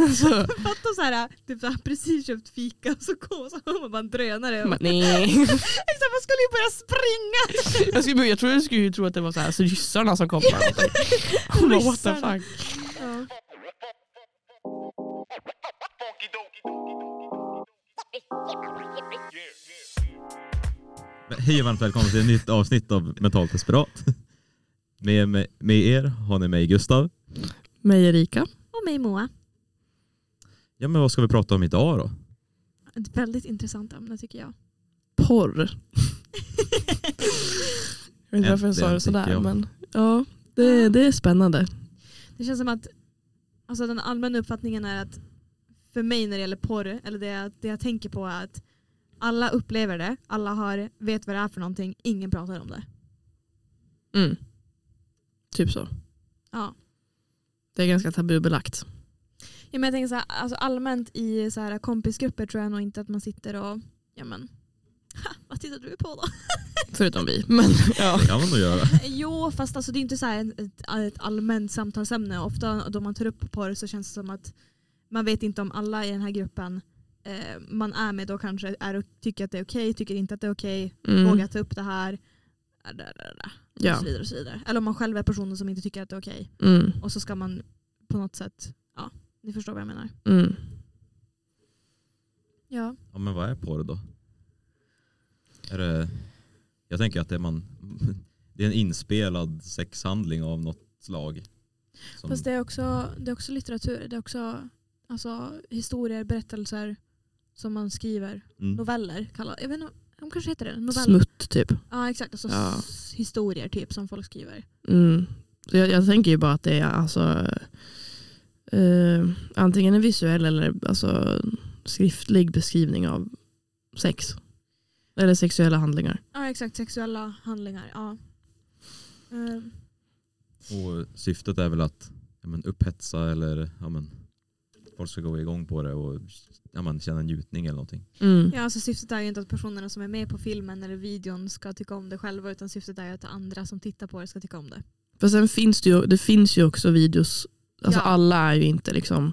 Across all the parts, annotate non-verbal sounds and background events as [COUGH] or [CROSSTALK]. [LAUGHS] Så, Fatta så här, typ så här, precis köpt fika och så kommer så hör man bara en drönare. jag bara, Och, nej. exakt, man skulle ju börja springa. [LAUGHS] Jag, skulle, jag tror jag skulle ju tro att det var så här, så ryssarna som kom. eller någonting. [LAUGHS] Hon bara, what the Ryssarna. fuck. Ja. Men Hej och varmt välkomna till ett nytt avsnitt av Mentalt Desperat. Med, med, med er har ni mig Gustav. Mig Erika. Och mig Moa. Ja men vad ska vi prata om idag då? Ett väldigt intressant ämne tycker jag. Porr. Jag vet inte varför jag sa Äntligen, det sådär. tycker jag. Men, ja, det, det är spännande. Det känns som att alltså, den allmänna uppfattningen är att för mig när det gäller porr, eller det, jag- det jag tänker på är att alla upplever det, alla har, vet vad det är för någonting, ingen pratar om det. Mm. Typ så. Ja. Det är ganska tabubelagt. Ja, men jag tänker så här, alltså allmänt i så här kompisgrupper tror jag nog inte att man sitter och, ja men, [LAUGHS] ha, vad tittar du på då? Förutom vi. Men, [LAUGHS] ja. Det kan man nog göra. jo, fast alltså, det är inte så här ett, ett allmänt samtalsämne. Ofta då man tar upp porr så känns det som att man vet inte om alla i den här gruppen eh, man är med då kanske är, tycker att det är okej, tycker inte att det är okej, Mm. vågar ta upp det här. Där, där, där, där, och Ja. så vidare och så vidare. Eller om man själv är personen som inte tycker att det är okej. Mm. Och så ska man på något sätt, ja, ni förstår vad jag menar. Mm. Ja. Ja men vad är porr då? Är det, jag tänker att det är, man, det är en inspelad sexhandling av något slag. Som, Fast det är, också, det är också litteratur, det är också alltså, historier, berättelser som man skriver. mm. Noveller kallar jag vet inte, de kanske heter det. Noveller. Smutt typ. Ja exakt, alltså Ja. s- historier typ som folk skriver. Mm. Så jag, jag tänker ju bara att det är alltså, eh, antingen en visuell eller alltså, skriftlig beskrivning av sex. Eller sexuella handlingar. Ja exakt, sexuella handlingar. Ja. Eh, Och syftet är väl att ja, men, upphetsa eller ja, men, folk ska gå igång på det och ja, men, känna njutning eller någonting. Mm. ja, alltså syftet är ju inte att personerna som är med på filmen eller videon ska tycka om det själva utan syftet är ju att andra som tittar på det ska tycka om det. För sen finns det ju, det finns ju också videos, alltså Ja. alla är ju inte liksom,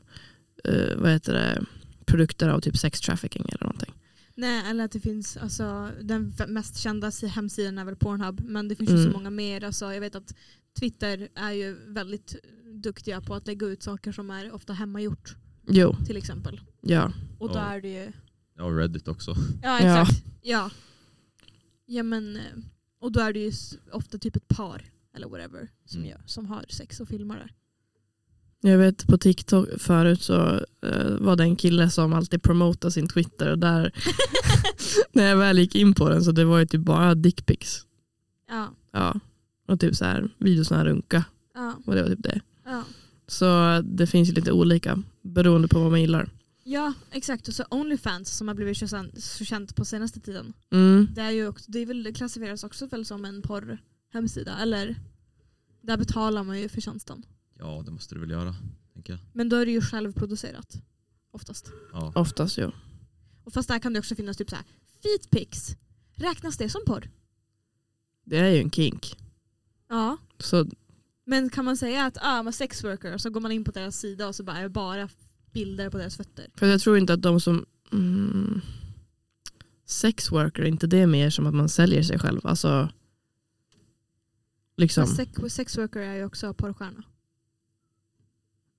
eh, vad heter det, produkter av typ sex trafficking eller någonting. Nej, eller att det finns, alltså, den v- mest kända si- hemsidan är väl Pornhub, men det finns ju Mm. så många mer. Alltså, jag vet att Twitter är ju väldigt duktiga på att lägga ut saker som är ofta hemmagjort, Jo, till exempel. ja. Och då Ja. är det ju... Ja, och Reddit också. Ja, Ja. exakt. Ja. ja. men, eh, och då är det ju s- ofta typ ett par, eller whatever, som, Mm. gör, som har sex och filmar det. Jag vet på TikTok förut så eh, var det en kille som alltid promotade sin Twitter och där när jag väl gick in på den så det var ju typ bara dickpics. Ja, Ja. Och typ så här videos när han runka ja, och det var typ det. ja. Så eh, det finns ju lite olika beroende på vad man gillar. Ja, exakt. Och så Onlyfans som har blivit så sen- så känt på senaste tiden. Mm. Det, är ju också, det, är väl, det klassificeras också väl som en porrhemsida, eller? Där betalar man ju för tjänsten. Ja, det måste du väl göra, tänker jag. Men då är det ju självproducerat, oftast. Ja. Oftast ja. Och fast där kan det också finnas typ så här, feet pics. Räknas det som porr? Det är ju en kink. Ja. Så Men kan man säga att ah, man är sexworker och så går man in på deras sida och så bara är det bara bilder på deras fötter? för jag tror inte att de som mm, sexworker, inte det är mer som att man säljer sig själv. Alltså liksom. Fast sex, sexworker är ju också porrstjärna.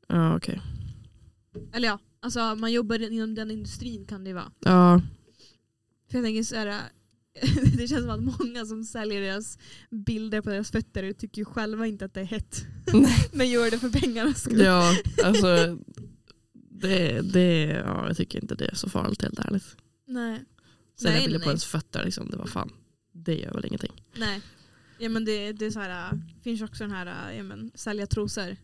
Ja okej. Eller ja, alltså man jobbar inom den industrin kan det ju vara. Ja. För jag tänker så här, [LAUGHS] det känns som att många som säljer deras bilder på deras fötter tycker ju själva inte att det är hett. Nej. [LAUGHS] Men gör det för pengarnas skull. Ja, alltså det, det, ja, jag tycker inte det är så farligt helt ärligt. [LAUGHS] Nej. Sälja Nej, bilder på nej. ens fötter, liksom, det var fan, det gör väl ingenting. Nej. Ja men det, det är så här, äh, finns ju också den här äh, ja, men, sälja trosor.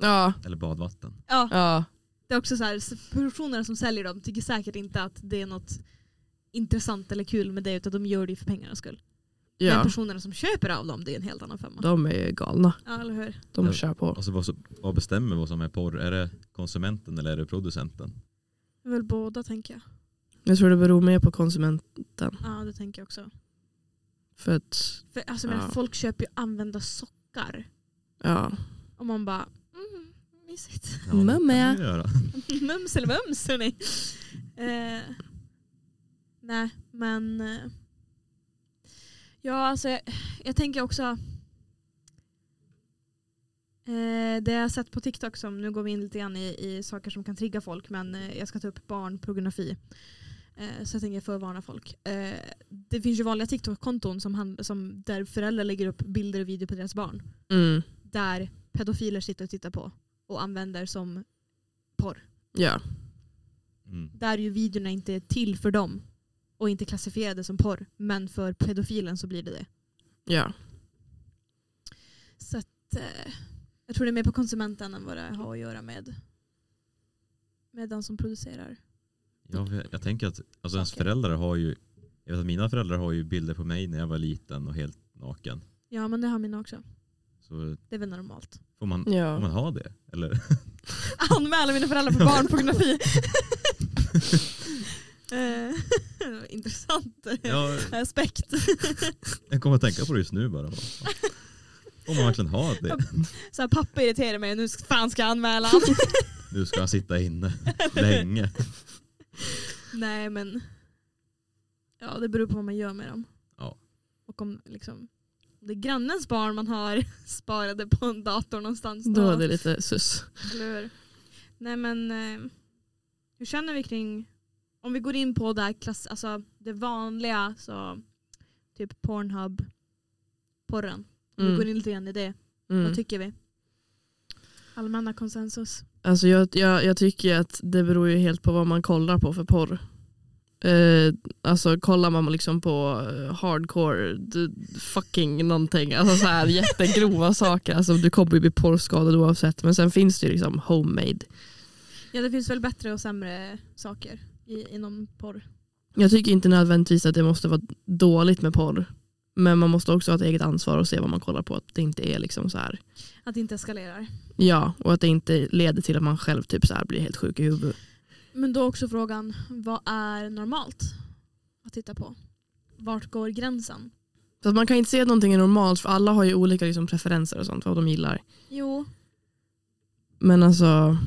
Ja, Eller badvatten. Ja, ja. det är också så här, s- personerna som säljer dem tycker säkert inte att det är något intressant eller kul med det utan de gör det ju för pengarnas skull. Men ja. personerna som köper av dem det är en helt annan femma. De är ju galna, Ja eller hur? de Ja. kör på. Alltså vad, som- vad bestämmer vad som är porr? Är det konsumenten eller är det producenten? Väl båda tänker jag. Jag tror det beror mer på konsument, Ja det tänker jag också. för att För, alltså, men Ja. Folk köper ju använda sockar. ja, Och man bara, mm, Mysigt. Ja, det kan man Mumma. ju göra. [LAUGHS] mums eller mums hörni. Eh, nej men. Eh, ja alltså jag, jag tänker också. Eh, det jag har sett på TikTok som, nu går vi in lite grann i, i saker som kan trigga folk men eh, jag ska ta upp barnpornografi. Eh, så jag tänker förvarna folk. Eh, det finns ju vanliga TikTok-konton som, hand- som där föräldrar lägger upp bilder och videor på deras barn Mm. där pedofiler sitter och tittar på och använder som porr. Ja. Mm. Där ju videorna inte är till för dem och inte klassificerade som porr. Men för pedofilen så blir det det. ja. Så att, eh, jag tror det är mer på konsumenten än vad det har att göra med, med den som producerar. Ja, för jag, jag tänker att alltså ens Saker. föräldrar har ju, jag vet att mina föräldrar har ju bilder på mig när jag var liten och helt naken. Ja men det har mina också. Så Det är väl normalt. [LAUGHS] får man, får ja. man ha det? Eller? [LAUGHS] Anmäla mina föräldrar för barnpornografi. [LAUGHS] Eh, [LAUGHS] Intressant Ja, aspekt. [LAUGHS] jag kommer att tänka på det just nu bara. Får man verkligen ha det? Så här, pappa irriterar mig nu ska- fan ska jag anmäla han. Nu ska han sitta inne länge. Nej men. Ja det beror på vad man gör med dem. Ja. Och om liksom, om det är grannens barn man har [LAUGHS] sparade på en dator någonstans. Då är det lite sus. eller hur? Nej men. Eh, hur känner vi kring. Om vi går in på det, här klass, alltså, det vanliga. Så, typ Pornhub. Porren. Om vi Mm. går in lite grann i det. Vad Mm. tycker vi? Allmänna konsensus. Alltså jag, jag, jag tycker att det beror ju helt på vad man kollar på för porr. Eh, alltså kollar man liksom på eh, hardcore d- fucking någonting, alltså så här [LAUGHS] jättegrova saker, alltså du kommer ju bli porrskadad oavsett. Men sen finns det ju liksom homemade. Ja det finns väl bättre och sämre saker i, inom porr. Jag tycker inte nödvändigtvis att det måste vara dåligt med porr. Men man måste också ha ett eget ansvar och se vad man kollar på. Att det inte är liksom så här. Att det inte eskalerar. Ja, och att det inte leder till att man själv typ så här blir helt sjuk i huvudet. Men då också frågan, vad är normalt att titta på? Vart går gränsen? Så att man kan inte se att någonting är normalt för alla har ju olika liksom preferenser och sånt, vad de gillar. Jo, Men alltså.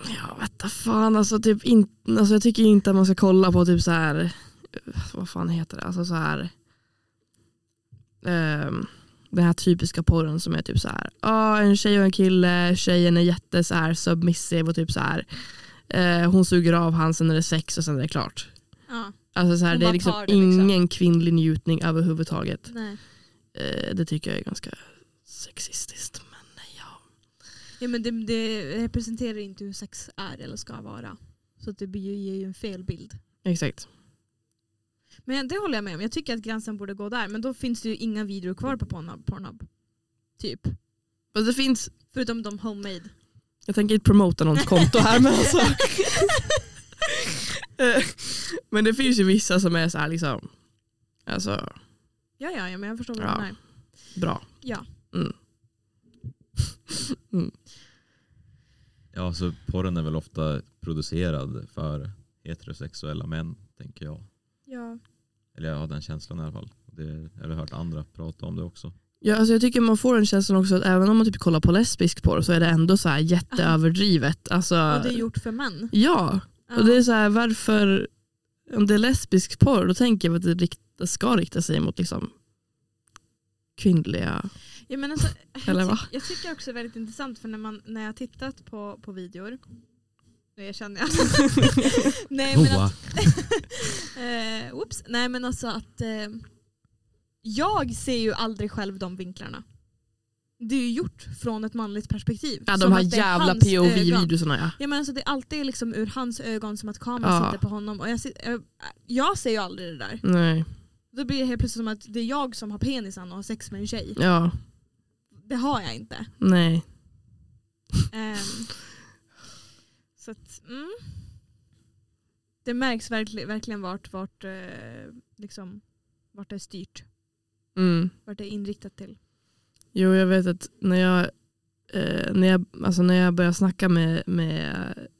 Ja, veta fan. Alltså, typ in, alltså, jag tycker inte att man ska kolla på typ så här. Vad fan heter det? Alltså så här. ehm, den här typiska porren som är typ så här. ah, en tjej och en kille. Tjejen är jätte så här submissive och typ så här. eh, hon suger av han, sen är det sex och sen är det klart. ja, Alltså så här, Hon det är bara liksom tar det, liksom. ingen kvinnlig njutning överhuvudtaget. nej. Eh, det tycker jag är ganska sexistiskt. Men ja. Ja, men det, det representerar inte hur sex är eller ska vara. Så att det blir ju- ger ju en fel bild. Exakt. Men det håller jag med om. Jag tycker att gränsen borde gå där. Men då finns det ju inga videor kvar på Pornhub. Pornhub. Typ. Fast det finns, Förutom de homemade. jag tänker inte promota någons konto här men alltså. eh, men det finns ju vissa som är så här liksom, alltså [LAUGHS] Ja, ja, ja men jag förstår vad du Ja. menar. bra. Ja. Ja, så porren är väl ofta producerad för heterosexuella män, tänker jag. ja. Eller jag har den känslan i alla fall. Det, jag har hört andra prata om det också. Ja, alltså jag tycker man får den känslan också att även om man typ kollar på lesbisk porr så är det ändå så här jätteöverdrivet. Alltså, Och det är gjort för män. Ja, Ja. och det är så här varför, om det är lesbisk porr då tänker jag att det rikt- ska rikta sig mot liksom kvinnliga, Ja, men alltså, Eller jag, vad? ty- jag tycker också det är väldigt intressant för när, man, när jag har tittat på, på videor, nu erkänner [LAUGHS] jag. Nej, men Hoa. att, eh, whoops. Nej men alltså att eh, jag ser ju aldrig själv de vinklarna. Det är ju gjort från ett manligt perspektiv. ja, de Som här att det är jävla hans ögon. POV-videorna ja. Ja, men alltså det är alltid liksom ur hans ögon som att kameran Ja. sitter på honom. Och jag, sit- jag, jag ser ju aldrig det där. Nej, Då blir det helt plötsligt som att det är jag som har penisen och har sex med en tjej. ja, Det har jag inte. nej. Ehm, så att, mm. Det märks verkli- verkligen vart, vart, eh, liksom, vart det är styrt. Mm. Vart det är inriktat till. Jo, jag vet att när jag, eh, när jag, alltså när jag börjar snacka med, med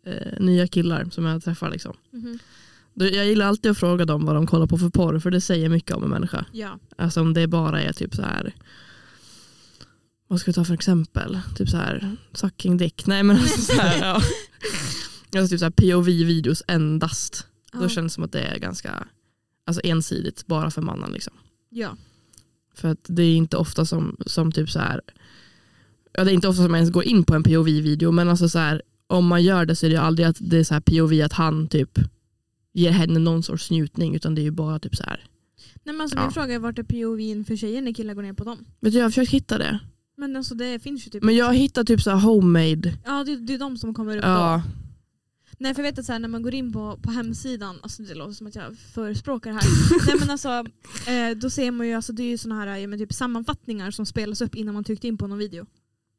eh, nya killar som jag träffar, liksom, då, jag gillar alltid att fråga dem vad de kollar på för porr, för det säger mycket om en människa. Ja. Alltså om det bara är typ så här, vad ska vi ta för exempel? Typ så här, sucking dick. Nej men alltså så här, ja. Alltså typ så här POV-videos endast. Då Ja. känns det som att det är ganska alltså ensidigt bara för mannen liksom. Ja. För att det är inte ofta som, som typ så här, ja det är inte ofta som man ens går in på en POV-video men alltså så här, om man gör det så är det ju aldrig att det är så här POV att han typ ger henne någon sorts njutning utan det är ju bara typ så här. Nej, men alltså, Ja. Min fråga är vart är POVn för tjejer när killar går ner på dem? Vet du jag har försökt hitta det. Men alltså det finns ju typ Men jag har hittat typ så här homemade. Ja det, det är de som kommer upp då. Ja, Nej för jag vet att så här, när man går in på, på hemsidan, alltså det låter som att jag förespråkar det [LAUGHS] här. Nej men alltså eh, då ser man ju, alltså det är ju såna här ja, men typ sammanfattningar som spelas upp innan man tryckte in på någon video.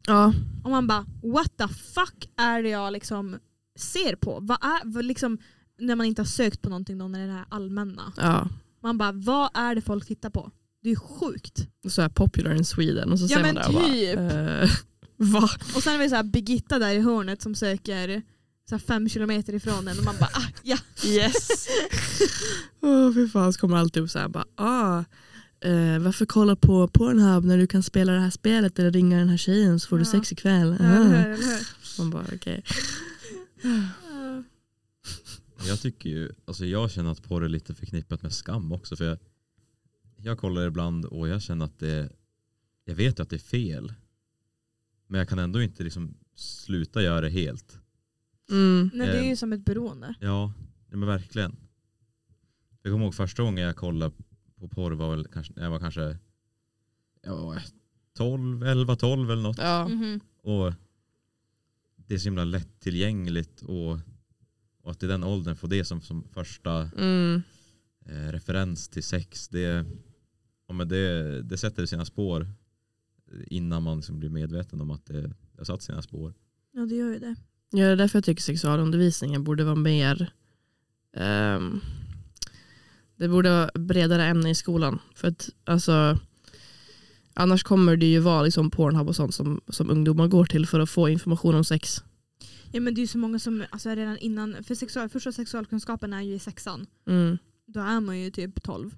ja, Och man bara what the fuck är det jag liksom ser på? Vad är, vad liksom, när man inte har sökt på någonting då, när det är det här allmänna. ja. Man bara vad är det folk tittar på? Det är sjukt. Så här popular in Sweden och så Ja, ser man men det och bara, typ. eh, [LAUGHS] va? Och sen är det så här Birgitta där i hörnet som söker så här fem kilometer ifrån en och man bara ah, ja. [LAUGHS] Yes. oh, fy fan, så kommer alltid upp så här bara, ah, eh, varför kolla på Pornhub när du kan spela det här spelet eller ringa den här tjejen så får du Ja. sex ikväll. Ja, eller Ah. hur, eller hur? Man bara okej. Ja. Jag tycker ju, alltså jag känner att porr är lite förknippat med skam också. För jag, jag kollar ibland och jag känner att det, jag vet ju att det är fel. Men jag kan ändå inte liksom sluta göra det helt. Mm. Nej, det är Eh. ju som ett beroende. Ja, ja, men verkligen. Jag kommer ihåg första gången jag kollade på porr var väl kanske, när jag var kanske ja, 12, 11, 12 eller något. Mm. Ja. Mhm. Och det är så himla lättillgängligt och, och att i den åldern få det som, som första Mm. eh, referens till sex. Det, ja, men det, det sätter sina spår innan man liksom blir medveten om att det har satt sina spår. Ja det gör ju det. Ja, det är därför jag tycker sexualundervisningen borde vara mer ehm, det borde vara bredare ämne i skolan. För att alltså annars kommer det ju vara liksom Pornhub och sånt som, som ungdomar går till för att få information om sex. Ja, men det är ju så många som alltså, redan innan, för sexual, första sexualkunskapen är ju i sexan. Mm. Då är man ju typ 12.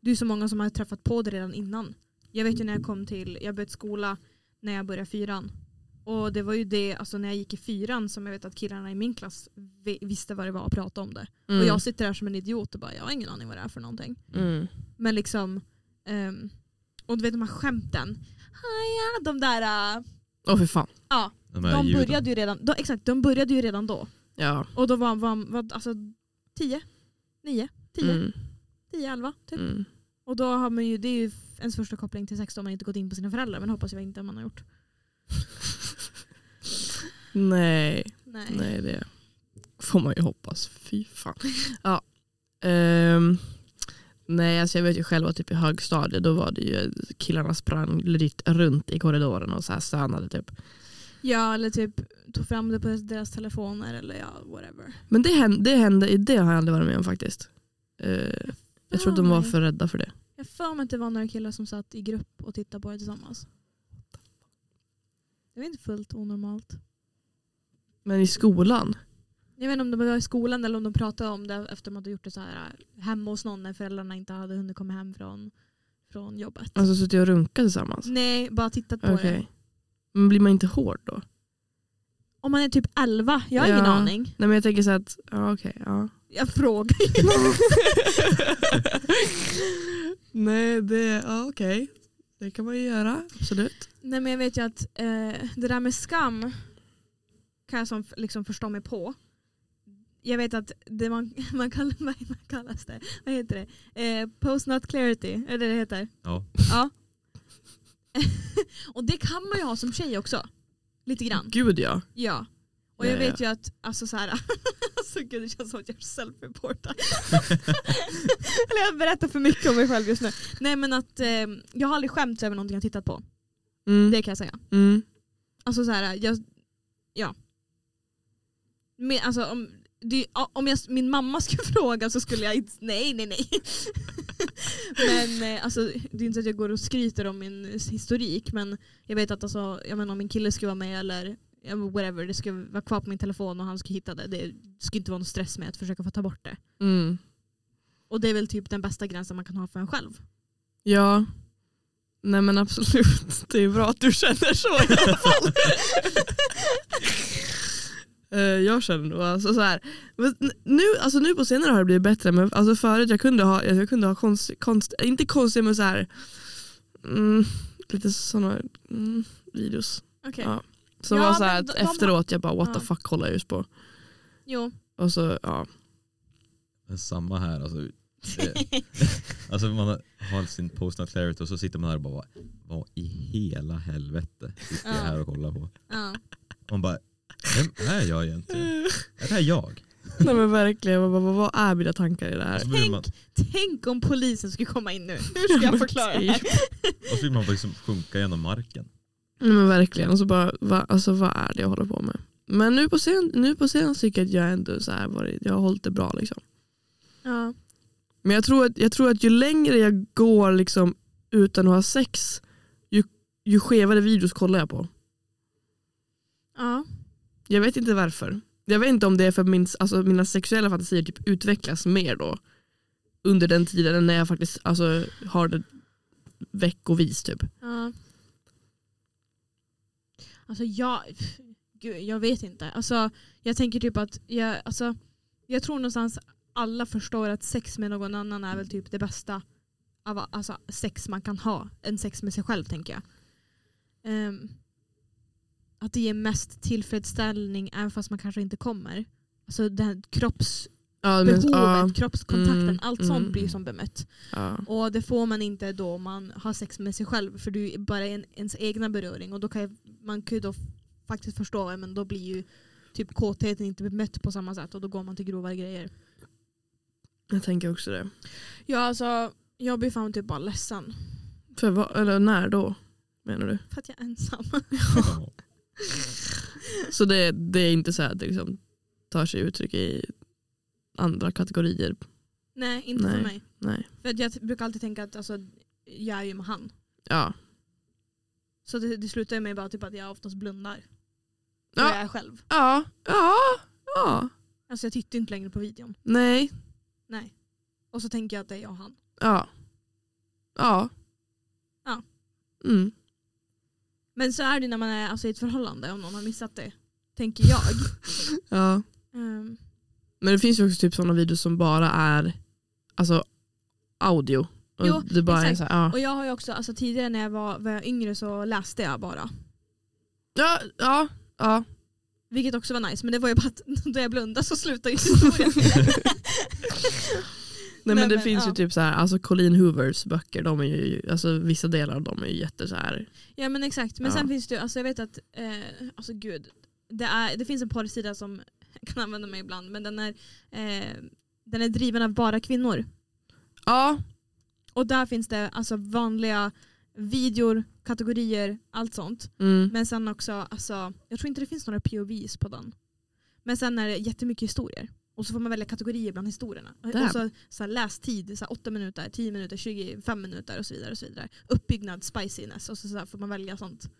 Det är ju så många som har träffat på det redan innan. Jag vet ju när jag kom till, jag började skola när jag började fyran. Och det var ju det, alltså när jag gick i fyran som jag vet att killarna i min klass vi- visste vad det var att prata om det. Mm. Och jag sitter där som en idiot och bara jag har ingen aning vad det är för någonting. Mm. Men liksom, ehm, och du vet de här skämten. Haja, de där, äh, Åh fy fan. ja De här de ljuden. började ju redan, de, exakt de började ju redan då. Ja. Och då var han var, alltså 10, 9, 10, Mm. 10, 11 typ. Mm. [LAUGHS] Och då har man ju, det är ju ens första koppling till sex då om man inte gått in på sina föräldrar men hoppas jag inte man har gjort. Nej. Nej. Nej, det får man ju hoppas. Fy fan. Ja. Ehm, nej, alltså jag vet ju själv att typ i högstadiet då var det ju killarna sprang lite runt i korridoren och så här stönade typ. Ja eller typ tog fram det på deras telefoner eller ja whatever. Men det hände, det hände, det har jag aldrig varit med om faktiskt. Eh, jag tror att de var för rädda för det. Jag har för mig att det var några killar som satt i grupp och tittade på det tillsammans. Det var inte fullt onormalt. Men i skolan? Jag vet inte om de var i skolan eller om de pratade om det efter man hade gjort det så här äh, hemma hos någon när föräldrarna inte hade hunnit komma hem från, från jobbet. Alltså suttit och runkat tillsammans? Nej, bara tittat på Okej. det. Men blir man inte hård då? Om man är typ 11, jag har ingen Ja. aning. Nej men jag tänker så här att, ja okej, ja. Jag frågar. [LAUGHS] Nej, det, ja okej. Det kan man ju göra, absolut. Nej men jag vet ju att eh, det där med skam kan jag som, liksom förstå mig på. Jag vet att det man, [LAUGHS] man, kallar, vad kallas det? Vad heter det? Eh, post not clarity, är det det heter? Ja. ja. [LAUGHS] och det kan man ju ha som tjej också. Lite grann. Gud ja. Ja. Och jag Ja, vet ju att, alltså så här, [LAUGHS] alltså gud det känns som att jag self-reportar. [LAUGHS] Eller jag berättar för mycket om mig själv just nu. Nej men att eh, jag har aldrig skämts över någonting jag tittat på. Mm. Det kan jag säga. Mm. Alltså så här, jag, ja. Men, alltså, om, det, ja, om jag, min mamma [LAUGHS] skulle fråga så skulle jag inte, nej nej nej. [LAUGHS] men eh, alltså, det är inte så att jag går och skryter om min historik men jag vet att alltså, jag menar, om min kille skulle vara med eller ja, men whatever, det skulle vara kvar på min telefon och han skulle hitta det. Det skulle inte vara någon stress med att försöka få ta bort det. Mm. Och det är väl typ den bästa gränsen man kan ha för en själv. Ja. Nej men absolut, [LAUGHS] det är bra att du känner så i alla [LAUGHS] fall. Eh, jag känner nog alltså så här. Men n- Nu, alltså nu på senare har det blivit bättre men alltså förut jag kunde ha, jag kunde ha konst, konst inte konstiga men så här. Mm, lite sådana mm, videos. Okej. Ja. Som Ja, var så men här att de- de har- efteråt jag bara what the Ja. fuck kollar jag just på. Jo. Och så ja. Men samma här. Alltså, [LAUGHS] eh, alltså man har- har sin post clarity och så sitter man här och bara "Vad- vad i hela helvete sitter jag Ja. här och kollar på? Ja. Man bara, vem är jag egentligen? Är det här jag? [LAUGHS] Nej men verkligen, vad, vad, vad är mina tankar i det Och [LAUGHS] här? så blir man, Tänk om polisen skulle komma in nu. Hur [LAUGHS] ska jag förklara det här? och så vill man bara liksom sjunka genom marken. Nej men verkligen, och så bara, va, alltså, vad är det jag håller på med? Men nu på sen, nu på sen tycker jag att jag ändå så här varit, jag har hållit det bra liksom. Ja. Men jag tror att, jag tror att ju längre jag går liksom, utan att ha sex, ju, ju skevare videos kollar jag på. Ja. Jag vet inte varför. Jag vet inte om det är för min, alltså, mina sexuella fantasier typ utvecklas mer då. Under den tiden än när jag faktiskt alltså, har det veckovis typ. ja. Alltså jag, pff, gud, jag vet inte. Alltså, jag tänker typ att jag, alltså, jag tror någonstans alla förstår att sex med någon annan är väl typ det bästa av, alltså, sex man kan ha. Än sex med sig själv tänker jag. Ehm, att det ger mest tillfredsställning även fast man kanske inte kommer. Alltså det här kroppsbehovet, Ja, men, ja, kroppskontakten, Mm, allt sånt mm. blir som bemött. ja. Och det får man inte då man har sex med sig själv för du är bara en, ens egna beröring. Och då kan ju- man kan ju då faktiskt förstå, ja, men då blir ju typ kåtheten inte bemött på samma sätt och då går man till grovare grejer. Jag tänker också det. Ja alltså, jag blir fan typ bara ledsen För, vad- eller när då? Menar du? för att jag är ensam. Ja. Så det, det är inte så här att det liksom tar sig uttryck i andra kategorier. [LAUGHS] Nej, inte Nej. för mig. Nej. För att jag t- brukar alltid tänka att alltså, jag är ju med han. Ja. Så det, det slutar ju med bara typ att jag oftast blundar. Då Ja. jag är själv. Ja. Ja. Ja. Alltså jag tittar ju inte längre på videon. Nej. Nej. Och så tänker jag att det är jag och han. Ja. Ja. Ja. Mm. Men så är det när man är alltså, i ett förhållande om någon har missat det. Tänker jag. Ja. Ehm, Men det finns ju också typ sådana videos som bara är alltså audio. Och Jo, det bara exakt. Är så här, ja. och jag har ju också, alltså tidigare när jag var, var jag yngre så läste jag bara. ja. Ja. Ja. Vilket också var nice men det var ju bara att [LAUGHS] då jag blundade så slutade ju historien. [LAUGHS] Nej, men Nej, det men, finns ju ja. typ så här, alltså Colleen Hoovers böcker, de är ju, alltså vissa delar av dem är ju jätte så här. ja men exakt. Men Ja. sen finns det ju, alltså jag vet att, eh, alltså gud. Det, är, det finns en porrsida som jag kan använda mig ibland men den är, eh, den är driven av bara kvinnor. Ja. Och där finns det alltså vanliga videor, kategorier, allt sånt. Mm. Men sen också, alltså, jag tror inte det finns några POVs på den. Men sen är det jättemycket historier. Och så får man välja kategorier bland historierna. Och- Damn. Och så, så här, lästid, så här, 8 minuter, 10 minuter, 25 minuter och så vidare. Och så vidare. Uppbyggnad, spiciness och så, så här, får man välja sånt.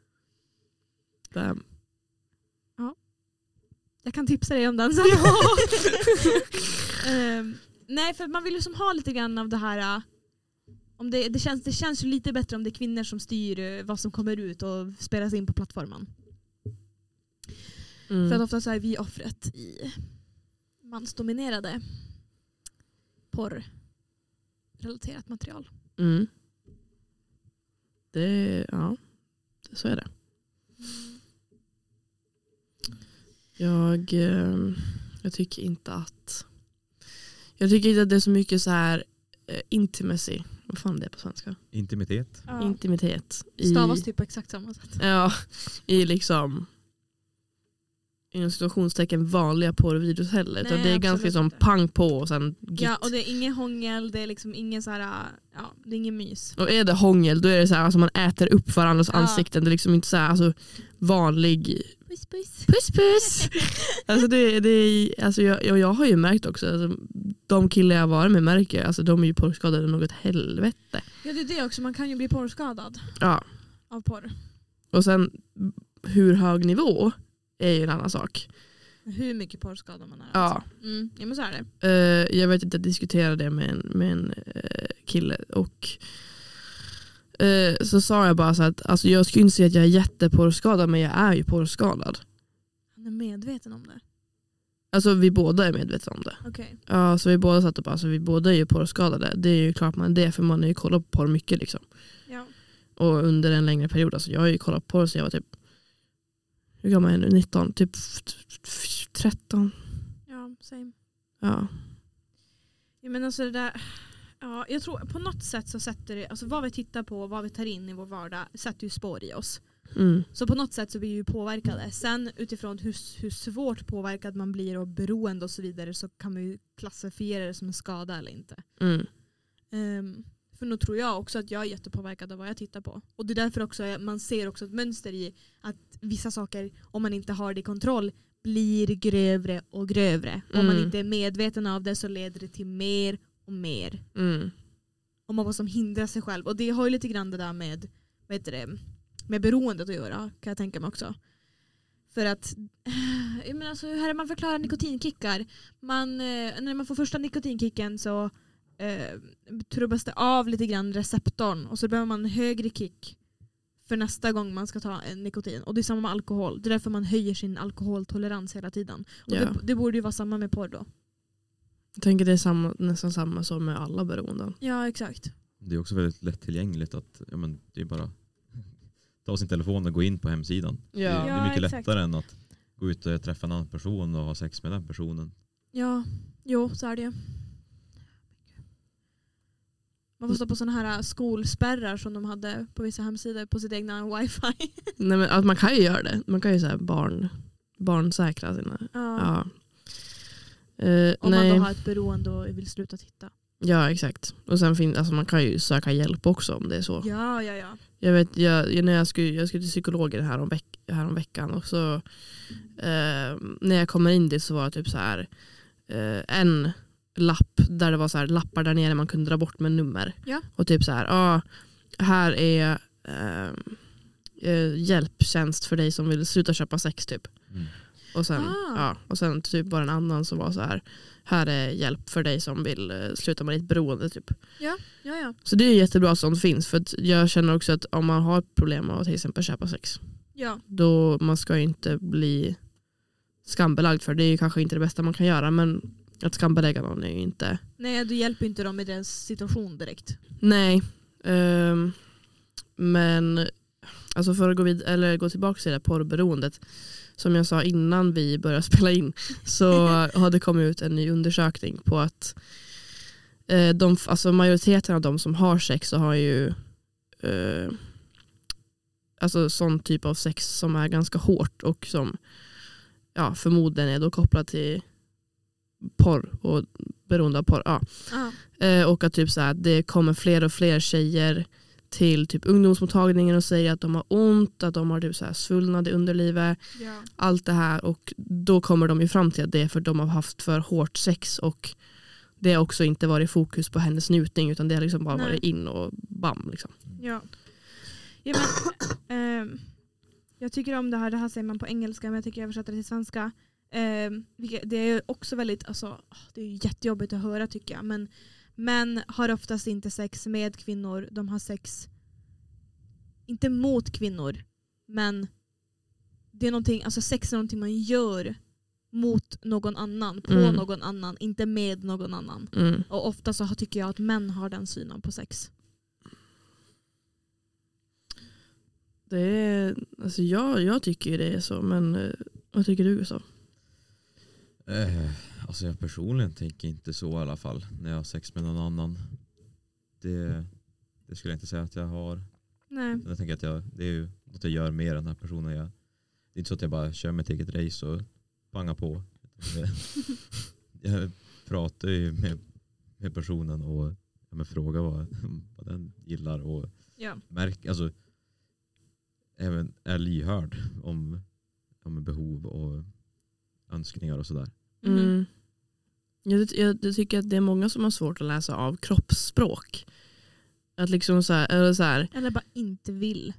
Damn. Jag kan tipsa dig om den sen. [LAUGHS] Ehm, nej, för man vill ju som ha lite grann av det här eh, om det, det, känns, det känns ju lite bättre om det är kvinnor som styr eh, vad som kommer ut och spelas in på plattformen. Mm. För att ofta så är vi offret i mansdominerade porrrelaterat material. Mm. Det, ja, så är det. Jag, eh, jag tycker inte att jag tycker inte att det är så mycket så här eh, intimacy, vad fan det är på svenska? Intimitet. Intimitet. I, Stavas typ på exakt samma sätt. [LAUGHS] Ja, i liksom inom situationstecken vanliga porrvideos heller. utan Nej, det är absolut ganska liksom inte. pang på och sen git. Ja, och det är inget hångel, det är liksom ingen så här, ja, det är ingen mys. Och är det hångel då är det så här, alltså man äter upp varandras Ja. ansikten. Det är liksom inte så här, alltså, vanlig Puss puss. puss [LAUGHS] puss. alltså det, det är, alltså jag, jag, jag har ju märkt också, alltså, de killar jag har varit med märker jag, alltså, de är ju porrskadade något helvete. Ja, det är det också, man kan ju bli porrskadad Ja. av porr. Och sen hur hög nivå är ju en annan sak. Hur mycket porrskadad man är. Ja. Mm, ja men så är det. Eh, jag vet inte, jag diskuterade det med en, med en eh, kille och eh, så sa jag bara så att alltså, jag skulle inte säga att jag är jätteporrskadad men jag är ju porrskadad. Han är medveten om det. Alltså vi båda är medvetna om det. Okej. Ja, så vi båda satt och bara, alltså, vi båda är ju porrskadade. Det är ju klart man är det för man har ju kollat på porr mycket liksom. Ja. Och under en längre period, alltså jag har ju kollat på porr sedan jag var typ, hur gammal är jag nu, 19, typ f- f- f- 13. ja, same. Ja. Ja, men alltså det där, ja, jag tror på något sätt så sätter det, alltså vad vi tittar på och vad vi tar in i vår vardag sätter ju spår i oss. Mm. Så på något sätt så blir vi ju påverkade. Sen utifrån hur, hur svårt påverkad man blir och beroende och så vidare så kan man ju klassifiera det som en skada eller inte. Mm. Ehm, för nog tror jag också att jag är jättepåverkad av vad jag tittar på. Och det är därför också jag- man ser också ett mönster i att vissa saker, om man inte har det i kontroll, blir grövre och grövre. Om man Mm. inte är medveten av det så leder det till mer och mer. Mm. Om man bara som hindrar sig själv. Och det har ju lite grann det där med, vad heter det, med beroendet att göra kan jag tänka mig också. För att, [SIGHS] jag menar alltså, hur är det man förklarar nikotinkickar? Man, eh, när man får första nikotinkicken så eh, trubbas det av lite grann receptorn och så behöver man en högre kick för nästa gång man ska ta en nikotin. Och det är samma med alkohol. Det är därför man höjer sin alkoholtolerans hela tiden. Och Ja. det, det borde ju vara samma med porr då. Jag tänker det är samma, nästan samma som med alla beroenden. Ja exakt. Det är också väldigt lättillgängligt att ja, men det är bara [LAUGHS] ta sin telefon och gå in på hemsidan. Det, är- det Ja, är mycket exakt. lättare än att gå ut och träffa en annan person och ha sex med den personen. Ja, jo så är det ju. Man får stå på sådana här äh, skolspärrar som de hade på vissa hemsidor på sitt egna wifi. [LAUGHS] Nej, men, alltså, man kan ju göra det. Man kan ju så här barn, barnsäkra sina. Ja. Ja. Eh, Om nej. man då har ett beroende och vill sluta titta. Ja exakt. Och sen fin- alltså, man kan ju söka hjälp också om det är så. Ja, ja, ja. Jag vet, jag, när jag skulle, jag skulle till psykologen här om, veck, här om veckan och så eh, när jag kommer in dit så var det typ så här eh, en lapp där det var så här lappar där nere man kunde dra bort med nummer. Ja. Och typ så här, ah, här är eh, eh, hjälptjänst för dig som vill sluta köpa sex typ. Och sen, Ah. ja, och sen typ bara en annan som var så här, här är hjälp för dig som vill eh, sluta med ditt beroende typ. ja, ja. Så det är jättebra att sånt finns. För att jag känner också att om man har ett problem med att till exempel köpa sex, ja. då man ska ju inte bli skambelagd för det är ju kanske inte det bästa man kan göra. Men att skambelägga någon är ju inte... Nej, du hjälper ju inte dem i deras situation direkt. Nej. Ehm, men alltså för att gå, vid- eller gå tillbaka till det där porrberoendet. Som jag sa innan vi började [LAUGHS] spela in så har det kommit ut en ny undersökning på att eh, de, alltså majoriteten av de som har sex så har ju eh, alltså sån typ av sex som är ganska hårt och som ja, förmodligen är då kopplat till porr och beroende av porr. Ja. Ja. Eh, och att typ så här, det kommer fler och fler tjejer till typ ungdomsmottagningen och säger att de har ont, att de har typ så här svullnad i underlivet, Ja. allt det här. Och då kommer de ju fram till att det är för att de har haft för hårt sex och det har också inte varit fokus på hennes njutning utan det har liksom bara Nej. varit in och bam. Liksom. ja. ja men, ehm, jag tycker om det här, det här säger man på engelska men jag tycker jag översätter det till svenska. Ehm, vilket- det är ju också väldigt, alltså, åh, det är ju jättejobbigt att höra tycker jag. Men män har oftast inte sex med kvinnor, de har sex, inte mot kvinnor, men det är någonting, alltså sex är någonting man gör mot någon annan, på Mm. någon annan, inte med någon annan. Mm. Och ofta så har- tycker jag att män har den synen på sex. Det är, alltså jag, jag tycker ju det är så men eh, vad tycker du Gustav? Eh, alltså jag personligen tänker inte så i alla fall när jag har sex med någon annan. Det, det skulle jag inte säga att jag har. Nej. Men jag tänker att jag, det är ju något jag gör mer än den här personen. Jag, det är inte så att jag bara kör mitt eget race och pangar på. Det- jag pratar ju med, med personen och ja, men frågar vad, [LAUGHS] vad den gillar och Ja. märker, alltså även är lyhörd om, om behov och önskningar och sådär. Mm. Mm. Jag, ty- jag, jag tycker att det är många som har svårt att läsa av kroppsspråk. Att liksom så här, eller så här, Eller bara inte vill.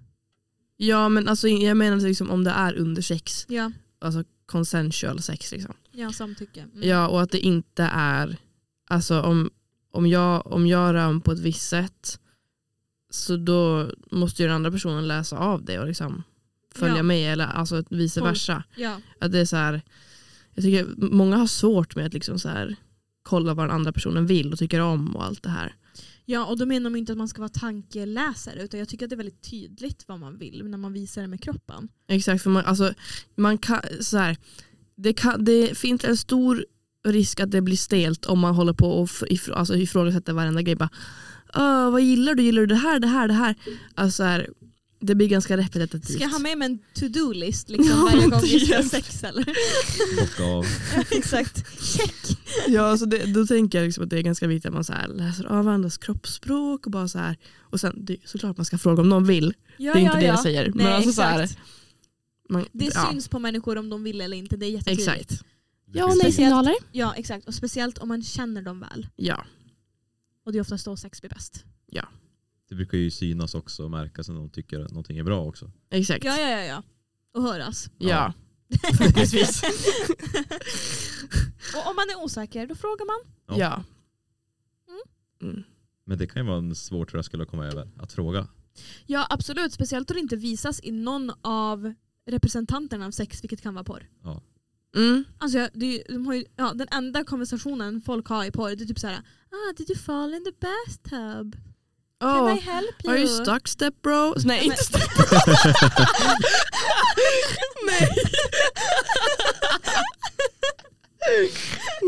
ja men alltså jag menar liksom om det är under sex, Ja, alltså consensual sex liksom. ja samtycke. Mm. Ja och att det inte är, alltså om, om, jag, om jag rör mig på ett visst sätt Så då måste ju den andra personen läsa av det och liksom följa Ja. med eller alltså vice Tolka. versa. Ja. Att det är så här, jag tycker många har svårt med att liksom så här, kolla vad den andra personen vill och tycker om och allt det här. ja, och då menar de inte att man ska vara tankeläsare utan jag tycker att det är väldigt tydligt vad man vill när man visar det med kroppen. Exakt, för man, alltså, man kan, så här, det, kan, det finns en stor risk att det blir stelt om man håller på och fr- ifrå, alltså, ifrågasätter varenda grej. Bara, "Åh, vad gillar du? Gillar du det här, det här, det här? Alltså, så här det blir ganska repetitivt. Ska jag ha med mig en to-do-list Ja, liksom, varje gång vi ska ha typ. sex eller? [LAUGHS] Bocka av. Exakt. Check! Ja, alltså det, då tänker jag liksom att det är ganska viktigt att man så här läser av varandras kroppsspråk och bara så här. Och sen, det, är såklart man ska fråga om någon vill. Ja, det är inte ja, det ja. jag säger. Nej, men alltså, så här, exakt. man, det ja, syns på människor om de vill eller inte. Det är jättetydligt. Exakt. Det finns det. nej-signaler. Ja, exakt. Och speciellt om man känner dem väl. Ja, Och det är oftast då sex blir bäst. det brukar ju synas också och märkas när någon tycker att någonting är bra också. exakt. Ja, ja, ja. ja. Och höras. ja. Precis. [LAUGHS] Och om man är osäker, då frågar man. Ja. ja. Mm. Mm. Men det kan ju vara en svår tröskel att komma över, att fråga. Ja, absolut. Speciellt då det inte visas i någon av representanterna av sex, vilket kan vara porr. Mm. Alltså, jag- det, är ju- de har ju, ja, den enda konversationen folk har i porr, det är typ så här. Ah, did you fall in the bathtub? Can Åh. I help you? Are you stuck step bro? [LAUGHS] Nej inte stuck bro. Nej. [LAUGHS]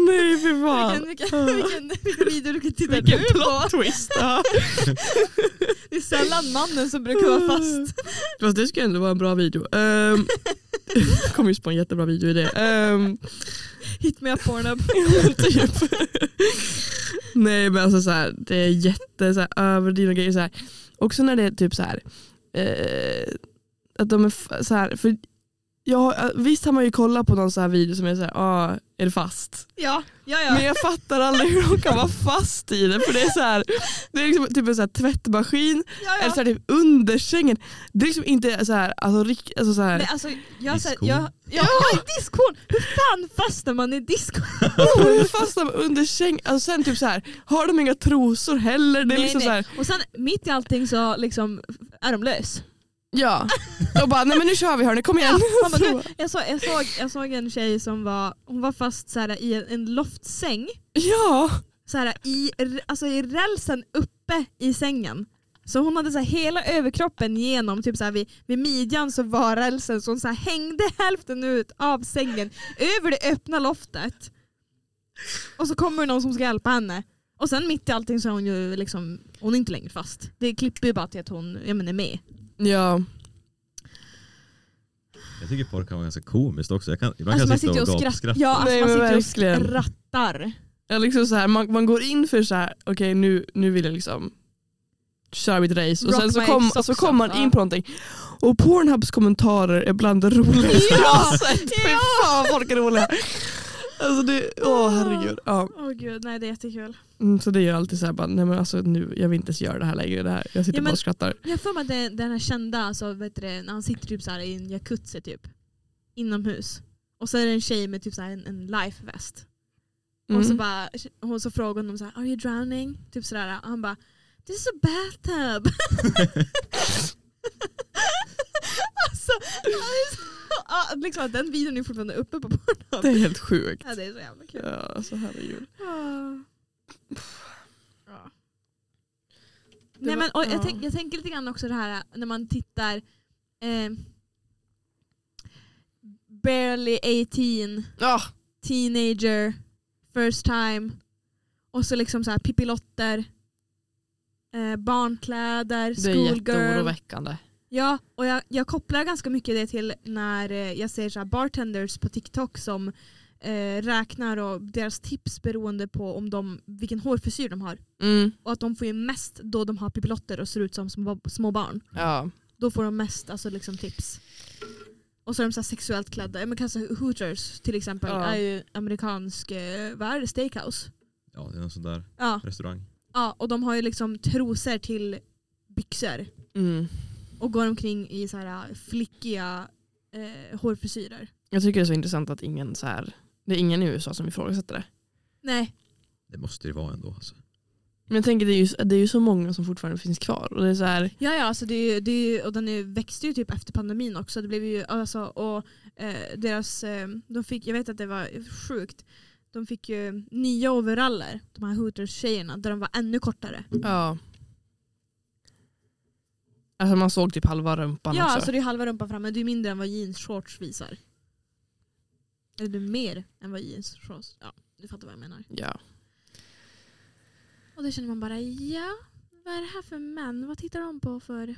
Nej för Vilken, fan. vilken, vilken, vilken video du kan titta Vilken du plot twist. ja. [LAUGHS] Det är sällan mannen som brukar vara [LAUGHS] fast. Fast det skulle ändå vara en bra video. [LAUGHS] Um, kom just på en jättebra video i det. Ehm, Hit me up Pornhub. typ. Nej men alltså så här, det är jätte så här, överdrivna grejer. Så här. Också när det är typ så här, eh, att de är f- så här, för jag, har- eh, visst har man ju kollat på någon så här video som är så här, ah, är det fast? Ja, ja, Men ja. jag fattar aldrig hur de kan vara fast i det för det är så här, det är liksom typ en så här tvättmaskin ja, ja. eller så här typ under sängen. Det är liksom inte så här, alltså, rikt- alltså så här Men alltså, jag, har sett- Diskon. jag, ja, ja, diskon! Hur fan fastnar man i diskon? hon [LAUGHS] fastnar under sängen. Alltså sen typ så här, har de inga trosor heller? Det är Nej, liksom nej. så här, Och sen mitt i allting så liksom, är de lös. Ja, och bara nej men nu kör vi hörni, kom igen. Man bara, du, jag, såg, jag, såg, jag såg en tjej som var, hon var fast så här, i en, en loftsäng, [LAUGHS] Ja, så här, i, r- alltså, i rälsen uppe i sängen. Så hon hade så här, hela överkroppen genom, typ så här, vid, vid midjan så var rälsen, så hon så här, hängde hälften ut av sängen över det öppna loftet. Och så kommer det någon som ska hjälpa henne. Och sen mitt i allting så är hon ju liksom, hon är inte längre fast. Det klipper ju bara till att hon ja, men är med. ja. Jag tycker porr kan vara ganska komiskt också. Jag kan, ibland Alltså kan man jag sitta sitter och och skrattar. gapskratta. Ja, alltså Nej, man men sitter verkligen. och skrattar. Ja, liksom så här, man, man går in för så här, okej nu, nu vill jag liksom köra mitt race och Rock sen så my kom- socks så kommer off, man in ja. på någonting. Och Pornhubs kommentarer är bland det alltså, roligaste jag har sett. [LAUGHS] Fy fan folk är roliga. Alltså det, åh herregud. Ja. Åh gud, nej det är jättekul. Mm, så det gör alltid så här, bara, nej men alltså nu, jag vill inte ens göra det här längre. Det här, jag sitter Ja, men- bara och skrattar. Jag har för mig att det- den här kända, alltså, vet du, det, när han sitter typ så här i en jacuzzi typ. Inomhus. Och så är det en tjej med typ så här en, en lifevest. Mm. Och så, bara, och så frågar hon så här, are you drowning? Typ sådär. Och han bara, this is a bathtub. [LAUGHS] alltså, alltså, [LAUGHS] ja, liksom, att den videon är fortfarande uppe på det Pornhub. är helt sjukt. Ja, det är så jävla kul. Ja, alltså herregud. Ah. Ja. Det Nej, var- men, och ja. jag, tänk, jag tänker lite grann också det här äh, när man tittar eh, Barely 18, Ah, Teenager, First time och så liksom så här pippilotter, eh, barnkläder, det är schoolgirl. jätteoroväckande. Ja, och jag, jag kopplar ganska mycket det till när eh, jag ser så här bartenders på TikTok som eh, räknar och deras tips beroende på om de, vilken hårfrisyr de har. Mm. Och att de får ju mest då de har pipilotter och ser ut som små, små barn. Ja. Då får de mest alltså, liksom, tips. Och så är de så här sexuellt klädda. Ja, Men kanske Hooters till exempel Ja. är ju amerikansk, eh, vad är det, steakhouse? Ja, det är någon sån där Ja. restaurang. ja, och de har ju liksom trosor till byxor. Mm. Och går omkring i så här äh, flickiga eh, hårfrisyrer. Jag tycker det är så intressant att ingen så här, det är ingen i USA som ifrågasätter det. Nej, Det måste ju vara ändå. Alltså. Men jag tänker det är, ju, det är ju så många som fortfarande finns kvar. Och det är så här, Ja, ja alltså det, är ju- det, är ju- och den är, växte ju typ efter pandemin också. Det blev ju, alltså, och eh, deras, eh, de fick, jag vet att det var sjukt, de fick ju nya overaller, de här Hooters-tjejerna, där de var ännu kortare. ja. Alltså man såg typ halva rumpan ja, också. alltså det är halva rumpan framme, det är mindre än vad jeansshorts visar. Eller det är mer än vad jeansshorts, ja du fattar vad jag menar. ja. Och då känner man bara, ja, vad är det här för män? Vad tittar de på för,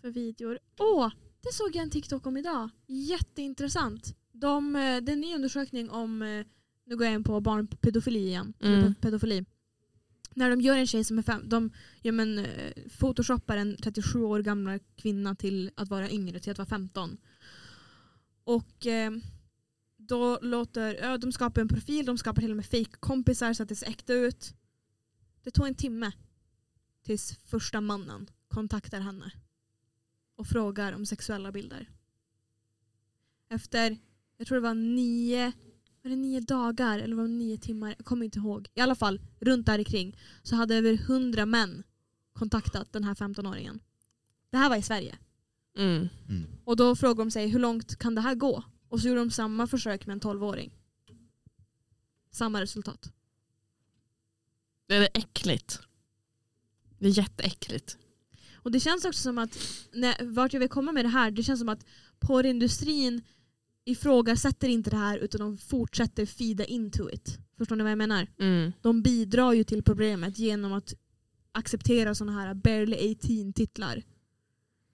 för videor? Åh, det såg jag en TikTok om idag. Jätteintressant. De, eh, det är en ny undersökning om, eh, nu går jag in på barnpedofili igen, eller Mm. pedofili. När de gör en tjej som är fem, de ja, men, eh, photoshoppar en 37 år gammal kvinna till att vara yngre, till att vara 15. Och eh, då låter, ja, de skapar en profil, de skapar till och med fake-kompisar så att det ser äkta ut. Det tog en timme tills första mannen kontaktar henne och frågar om sexuella bilder. Efter, jag tror det var nio, var det nio dagar eller var det nio timmar, jag kommer inte ihåg. I alla fall, runt där i kring så hade över hundra män kontaktat den här 15-åringen. Det här var i Sverige. Mm. Mm. Och då frågade de sig hur långt kan det här gå? Och så gjorde de samma försök med en 12-åring. Samma resultat. Det är äckligt. Det är jätteäckligt. Och det känns också som att, när, vart jag vill komma med det här, det känns som att porrindustrin ifrågasätter inte det här utan de fortsätter feeda into it. Förstår ni vad jag menar? Mm. De bidrar ju till problemet genom att acceptera sådana här barely 18-titlar.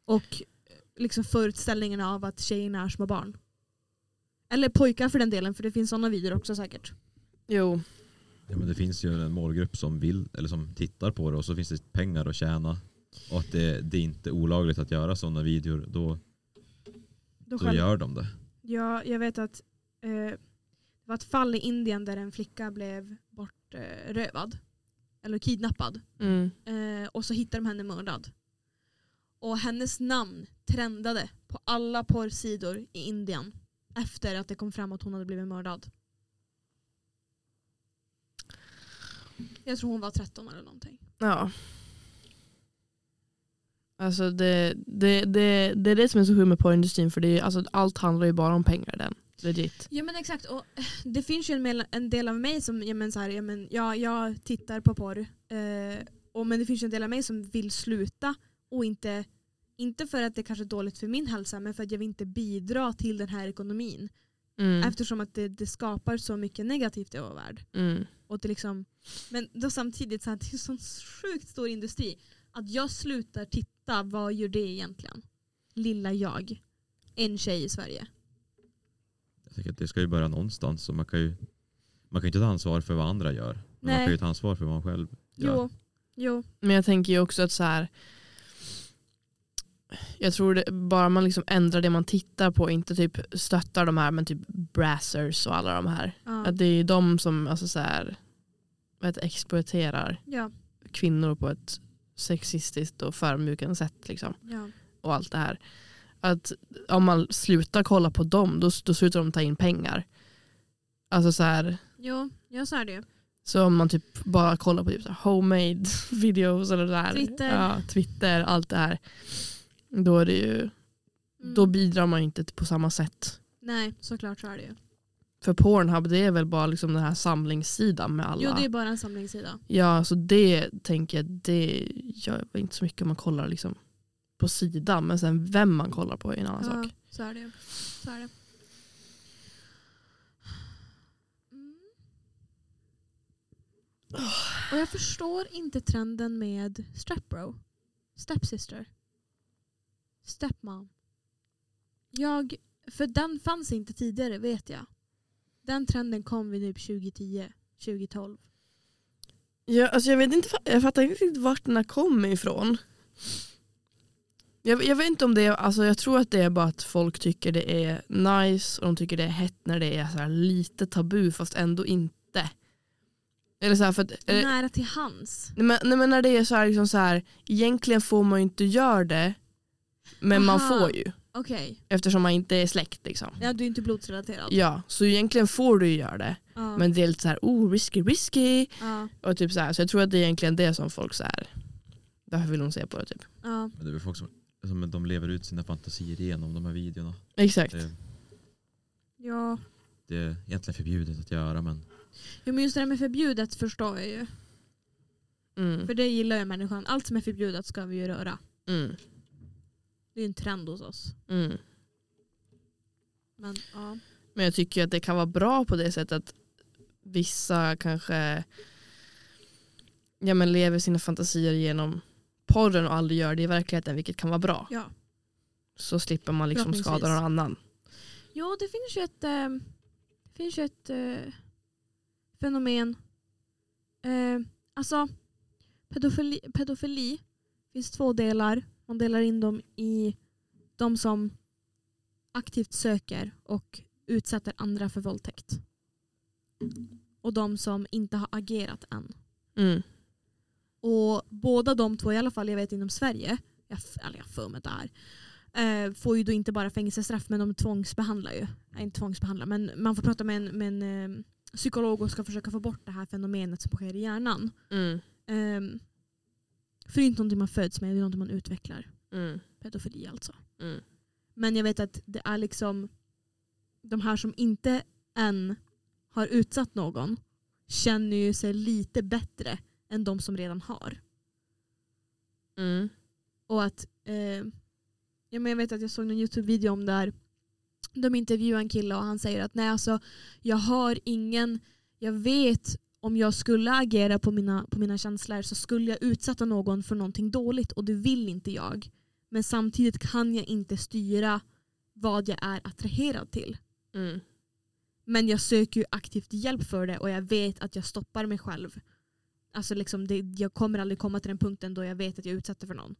Och liksom föreställningen av att tjejerna är små barn. Eller pojkar för den delen, för det finns sådana videor också säkert. Jo. Ja, men det finns ju en målgrupp som vill eller som tittar på det och så finns det pengar att tjäna. Och att det, det är inte olagligt att göra sådana videor, då, Då då gör de det. Ja, jag vet att eh, det var ett fall i Indien där en flicka blev bortrövad. Eh, rövad. eller kidnappad. Mm. Eh, och så hittade de henne mördad. Och hennes namn trendade på alla porrsidor i Indien efter att det kom fram att hon hade blivit mördad. Jag tror hon var 13 eller någonting. Ja. Alltså det, det, det, det är det som är så sjukt med porrindustrin för det är, ju- alltså allt handlar ju bara om pengar i den. Legit. Ja men exakt. Och eh, det finns ju en, mel- en del av mig som, ja men så här, ja men ja, jag tittar på porr. Eh, och, men det finns ju en del av mig som vill sluta. Och inte, inte för att det kanske är dåligt för min hälsa men för att jag vill inte bidra till den här ekonomin. Mm. Eftersom att det, det skapar så mycket negativt i vår värld. Mm. Och det liksom, men då samtidigt så här, det är en sån sjukt stor industri. Att jag slutar titta, vad gör det egentligen? Lilla jag. En tjej i Sverige. Jag tycker att det ska ju börja någonstans. Så man kan ju man kan ju inte ta ansvar för vad andra gör. Men man Nej. kan ju ta ansvar för vad man själv gör. Jo, jo. Men jag tänker ju också att så här. Jag tror det, bara man liksom ändrar det man tittar på, inte typ stöttar de här men typ brassers och alla de här. Ja. Att det är ju de som alltså så här, vad heter, det, exploaterar Ja, kvinnor på ett sexistiskt och förödmjukande sätt. Liksom, ja. och allt det här. Att om man slutar kolla på dem, då, då slutar de ta in pengar. Alltså så här, Jo, jag sa det ju. Så om man typ bara kollar på typ så här homemade [LAUGHS] videos eller det där. Twitter. Ja, Twitter, allt det här. Då, är det ju, Mm. då bidrar man ju inte på samma sätt. Nej, såklart så är det ju. För Pornhub det är väl bara liksom den här samlingssidan med alla. Jo, det är bara en samlingssida. Ja, så det tänker jag, det gör väl inte så mycket om man kollar liksom på sidan. Men sen vem man kollar på är en annan Ja, sak. så är det ju. Så är det. Mm. Oh. Och jag förstår inte trenden med stepbro. Stepsister. Stepmom. Jag, för den fanns inte tidigare vet jag. Den trenden kom vid typ 2010, 2012. Ja, alltså jag, vet inte, jag fattar inte riktigt vart den här kommer ifrån. Jag, jag vet inte om det är, alltså jag tror att det är bara att folk tycker det är nice och de tycker det är hett när det är så här lite tabu fast ändå inte. Eller så här, för att, eller, nej. Nära till hans. men, nej men när det är så här, liksom så här, egentligen får man ju inte göra det men man Aha. får ju Okej. eftersom man inte är släkt liksom. Ja, du är inte blodsrelaterad. Ja, så egentligen får du ju göra det Ja. Men det är lite så här, oh risky risky. ja, Och typ så, här, så jag tror att det är egentligen det som folk så här, varför vill de se på det typ? ja. Men det är väl folk som, som de lever ut sina fantasier genom de här videorna. Exakt. Det, ja. det är egentligen förbjudet att göra men Jo, men just det där med förbjudet förstår jag ju. Mm. För det gillar ju människan. Allt som är förbjudet ska vi ju röra. Mm. Det är ju en trend hos oss. Mm. Men ja. Men jag tycker ju att det kan vara bra på det sättet att vissa kanske ja, men lever sina fantasier genom porren och aldrig gör det i verkligheten vilket kan vara bra. ja. Så slipper man liksom skada Förhoppningsvis. någon annan. Jo, det finns ju ett, eh, det finns ju ett eh, fenomen. Eh, alltså, pedofili, pedofili finns två delar. Man delar in dem i de som aktivt söker och utsätter andra för våldtäkt. Och de som inte har agerat än. Mm. Och båda de två, i alla fall jag vet inom Sverige, jag, f- eller jag har för mig det här, eh, får ju då inte bara fängelsestraff men de tvångsbehandlar ju. Nej, inte tvångsbehandlar men man får prata med en, med en eh, psykolog och ska försöka få bort det här fenomenet som sker i hjärnan. Mm. Ehm, för det är inte någonting man föds med, det är någonting man utvecklar. Mm. Pedofili alltså. Mm. Men jag vet att det är liksom de här som inte än har utsatt någon känner ju sig lite bättre än de som redan har. Mm. Och att, eh, ja, men jag vet att jag såg någon YouTube-video om där de intervjuar en kille och han säger att nej alltså jag har ingen, jag vet om jag skulle agera på mina, på mina känslor så skulle jag utsätta någon för någonting dåligt och det vill inte jag. Men samtidigt kan jag inte styra vad jag är attraherad till. Mm. Men jag söker ju aktivt hjälp för det och jag vet att jag stoppar mig själv. Alltså liksom det, jag kommer aldrig komma till den punkten då jag vet att jag utsätter för någon.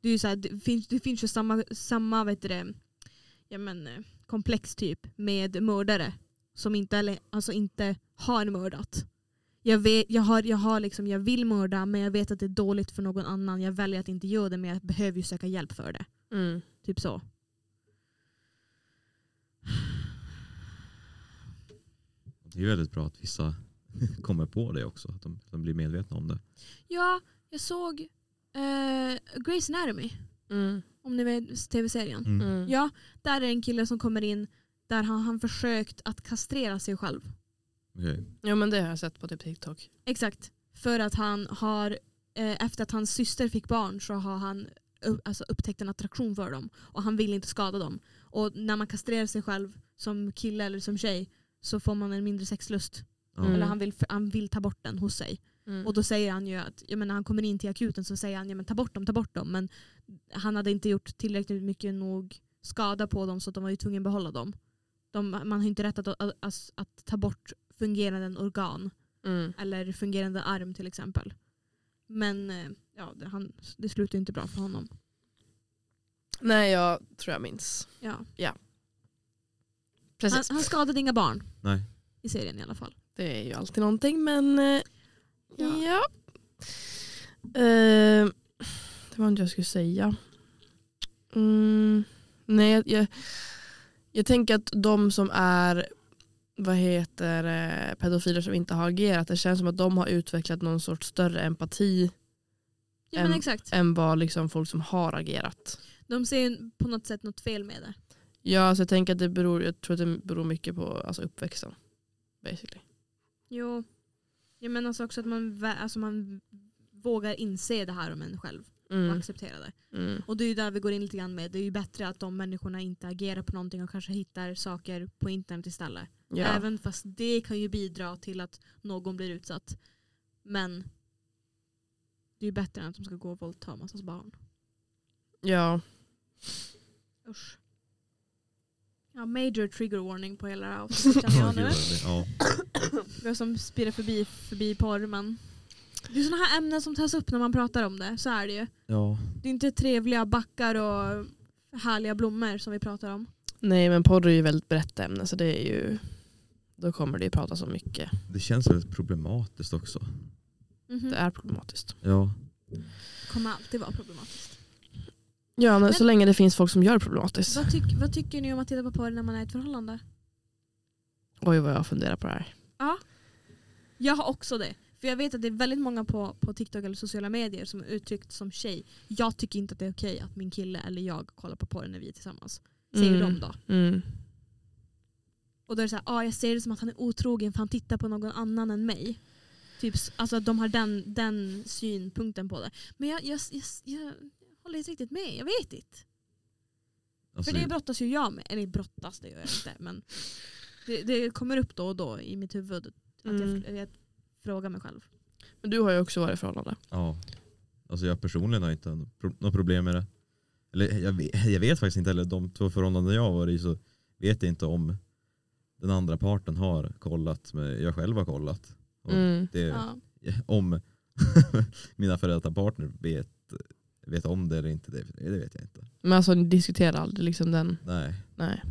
Det, är ju så här, det, finns, det finns ju samma, samma vet du det, ja men, eh, komplex typ med mördare som inte, eller- alltså inte har mördat. Jag, vet, jag, har, jag, har liksom, jag vill mörda men jag vet att det är dåligt för någon annan. Jag väljer att inte göra det men jag behöver ju söka hjälp för det. Mm. Typ så. det är ju väldigt bra att vissa [LAUGHS] kommer på det också. Att de, de blir medvetna om det. Ja, jag såg eh, Grey's Anatomy. Mm. Om ni vet tv-serien. Mm. Ja, där är det en kille som kommer in där har han försökt att kastrera sig själv. Okej. Ja men det har jag sett på typ TikTok. Exakt. För att han har, eh, efter att hans syster fick barn så har han u- alltså, upptäckt en attraktion för dem. Och han vill inte skada dem. Och när man kastrerar sig själv som kille eller som tjej så får man en mindre sexlust. Ja. Mm. Eller han vill, han vill ta bort den hos sig. Och då säger han ju att, jag menar, när han kommer in till akuten så säger han ja men ta bort dem, ta bort dem. Men han hade inte gjort tillräckligt mycket nog skada på dem så att de var ju tvungna att behålla dem. De, man har ju inte rätt att, att, att, att ta bort fungerande organ Mm. eller fungerande arm till exempel. Men eh, ja, det, han, det slutar ju inte bra för honom. Nej jag tror jag minns. Ja. Han, Precis. han skadade inga barn Nej. i serien i alla fall. Det är ju alltid någonting men eh, ja. Ja. Eh, det var inte jag skulle säga. Mm, nej jag, jag, jag tänker att de som är vad heter det, pedofiler som inte har agerat det känns som att de har utvecklat någon sorts större empati Ja men Em- exakt. än vad liksom folk som har agerat. De ser ju på något sätt något fel med det. Ja, så jag tänker att det beror, jag tror att det beror mycket på alltså, uppväxten. Basically. Jo. Jag menar alltså också att man, vä- alltså man vågar inse det här om en själv och Mm, acceptera det. mm, Och det är ju där vi går in lite grann med. Det är ju bättre att de människorna inte agerar på någonting och kanske hittar saker på internet istället. ja. Även fast det kan ju bidra till att någon blir utsatt. Men det är ju bättre än att de ska gå och våldta massas barn. ja. Usch. Ja, major trigger warning på hela det här avsnittet känner jag gud, nu. det- ja. Det är som spirar förbi, förbi porr men. Det är sådana här ämnen som tas upp när man pratar om det. Så är det ju. ja. Det är inte trevliga backar och härliga blommor som vi pratar om. Nej men porr är ju väldigt brett ämne så det är ju då kommer det ju pratas om mycket. Det känns väldigt problematiskt också. Mhm. Det är problematiskt. Ja. kommer alltid vara problematiskt. Ja men Men- så länge det finns folk som gör problematiskt. Vad, tyck, vad tycker ni om att titta på porr när man är i ett förhållande? Oj vad jag funderar på det här. Jag har också det. För jag vet att det är väldigt många på, på TikTok eller sociala medier som är uttryckt som tjej. Jag tycker inte att det är okej att min kille eller jag kollar på porr när vi är tillsammans. Säger de då. Mm. Och då är det så här, ah, jag ser det som att han är otrogen för han tittar på någon annan än mig. Typ, s- alltså att de har den, den synpunkten på det. Men jag, jag, jag, jag håller inte riktigt med, jag vet inte. Alltså, för det brottas ju jag med. Eller brottas, det gör jag inte. Men det, det kommer upp då och då i mitt huvud. Att Mm. jag, jag frågar mig själv. Men du har ju också varit i förhållande. Ja. Alltså jag personligen har inte haft något pro- något problem med det. Eller jag vet, [LAUGHS] jag vet faktiskt inte heller, de två förhållanden jag har varit i så vet jag inte om den andra parten har kollat, men jag själv har kollat. Och Mm. Det, Ja. Om [LAUGHS] mina före detta partner vet, vet om det eller inte, det, det vet jag inte. Men alltså ni diskuterar aldrig liksom den. Nej. Nej.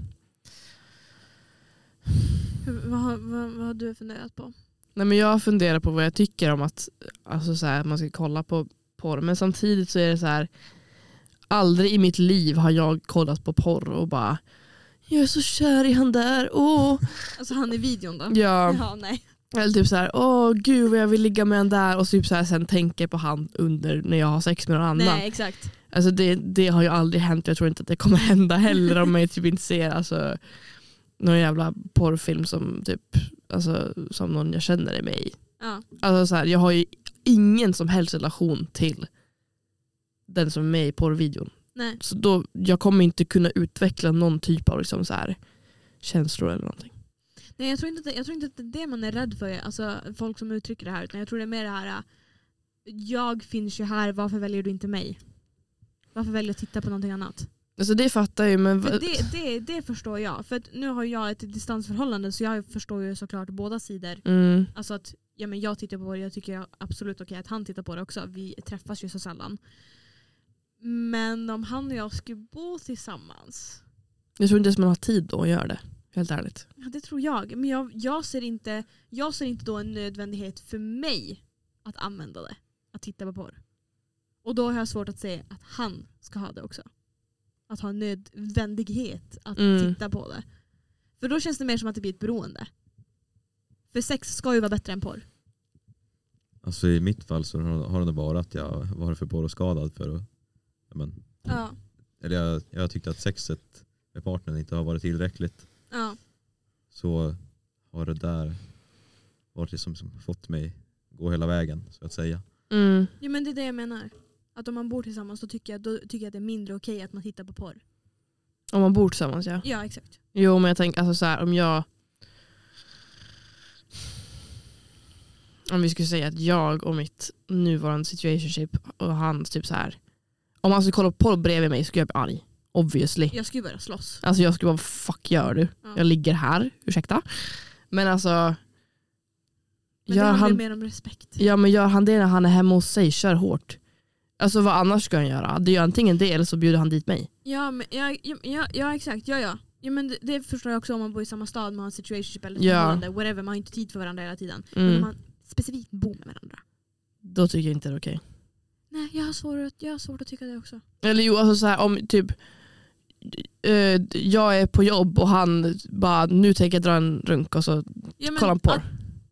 Hur- Vad, har- vad, vad har du funderat på? Nej men jag funderar på vad jag tycker om att alltså så här, man ska kolla på porr. Men samtidigt så är det så här. Aldrig i mitt liv har jag kollat på porr och bara jag är så kär i han där. Åh. Alltså han i videon då? Ja. Ja, nej. Eller typ så här, åh gud vad jag vill ligga med han där och så typ så här, sen tänker på han under när jag har sex med någon annan. nej, exakt. Alltså det, det har ju aldrig hänt jag tror inte att det kommer [LAUGHS] hända heller om jag typ inte ser alltså, någon jävla porrfilm som, typ, alltså, som någon jag känner är med i. Ja. Alltså så här, jag har ju ingen som helst relation till den som är med i porrvideon. Nej. Så då, jag kommer inte kunna utveckla någon typ av liksom så här, känslor eller någonting. Nej, jag tror, inte att det, jag tror inte att det är det man är rädd för, alltså folk som uttrycker det här. Utan jag tror det är mer det här, äh, jag finns ju här, varför väljer du inte mig? Varför väljer du att titta på någonting annat? Alltså det fattar jag ju men... För det, det, det förstår jag. För att nu har jag ett distansförhållande så jag förstår ju såklart båda sidor. mm, Alltså att ja, men jag tittar på det, jag tycker absolut okej att han tittar på det också. Vi träffas ju så sällan. Men om han och jag skulle bo tillsammans jag tror inte ens man har tid då att göra det. Helt ärligt. Ja, det tror jag. Men jag, jag, ser inte, jag ser inte då en nödvändighet för mig att använda det. Att titta på porr. Och då har jag svårt att säga att han ska ha det också. Att ha en nödvändighet att Mm. titta på det. För då känns det mer som att det blir ett beroende. För sex ska ju vara bättre än porr. Alltså i mitt fall så har har det nog varit att jag varit för porrskadad för att, ja, men, Ja. eller jag, jag tyckte att sexet med partnern inte har varit tillräckligt. ja. Så har det där varit det som, som fått mig gå hela vägen så att säga. Mm. Jo, men det är det jag menar. Att om man bor tillsammans då tycker jag, då tycker jag att det är mindre okej att man tittar på porr. Om man bor tillsammans ja. Ja, exakt. Jo men jag tänker alltså så här om jag Om vi skulle säga att jag och mitt nuvarande situationship och hans typ så här Om han skulle kolla på porr bredvid mig skulle jag bli arg. Obviously. Jag skulle börja slåss. Alltså jag skulle bara fuck gör du? Ja. Jag ligger här, ursäkta. Men alltså Men det gör, handlar ju han, mer om respekt. ja, men gör han det när han är hemma hos sig, kör hårt. Alltså vad annars ska han göra? Det är antingen det eller så bjuder han dit mig. Ja, men, ja, ja, ja, ja exakt. Ja, ja. Ja, men det, det förstår jag också om man bor i samma stad, man har en situationship eller ett Ja. förhållande, whatever, man har inte tid för varandra hela tiden. Men om Mm. man specifikt bor med varandra. Då tycker jag inte det är okej. Nej, jag har svårt att, jag har svårt att tycka det också. Eller jo, alltså så här, om typ eh, jag är på jobb och han bara nu tänker jag dra en runk och så Ja, men, kollar han på. att-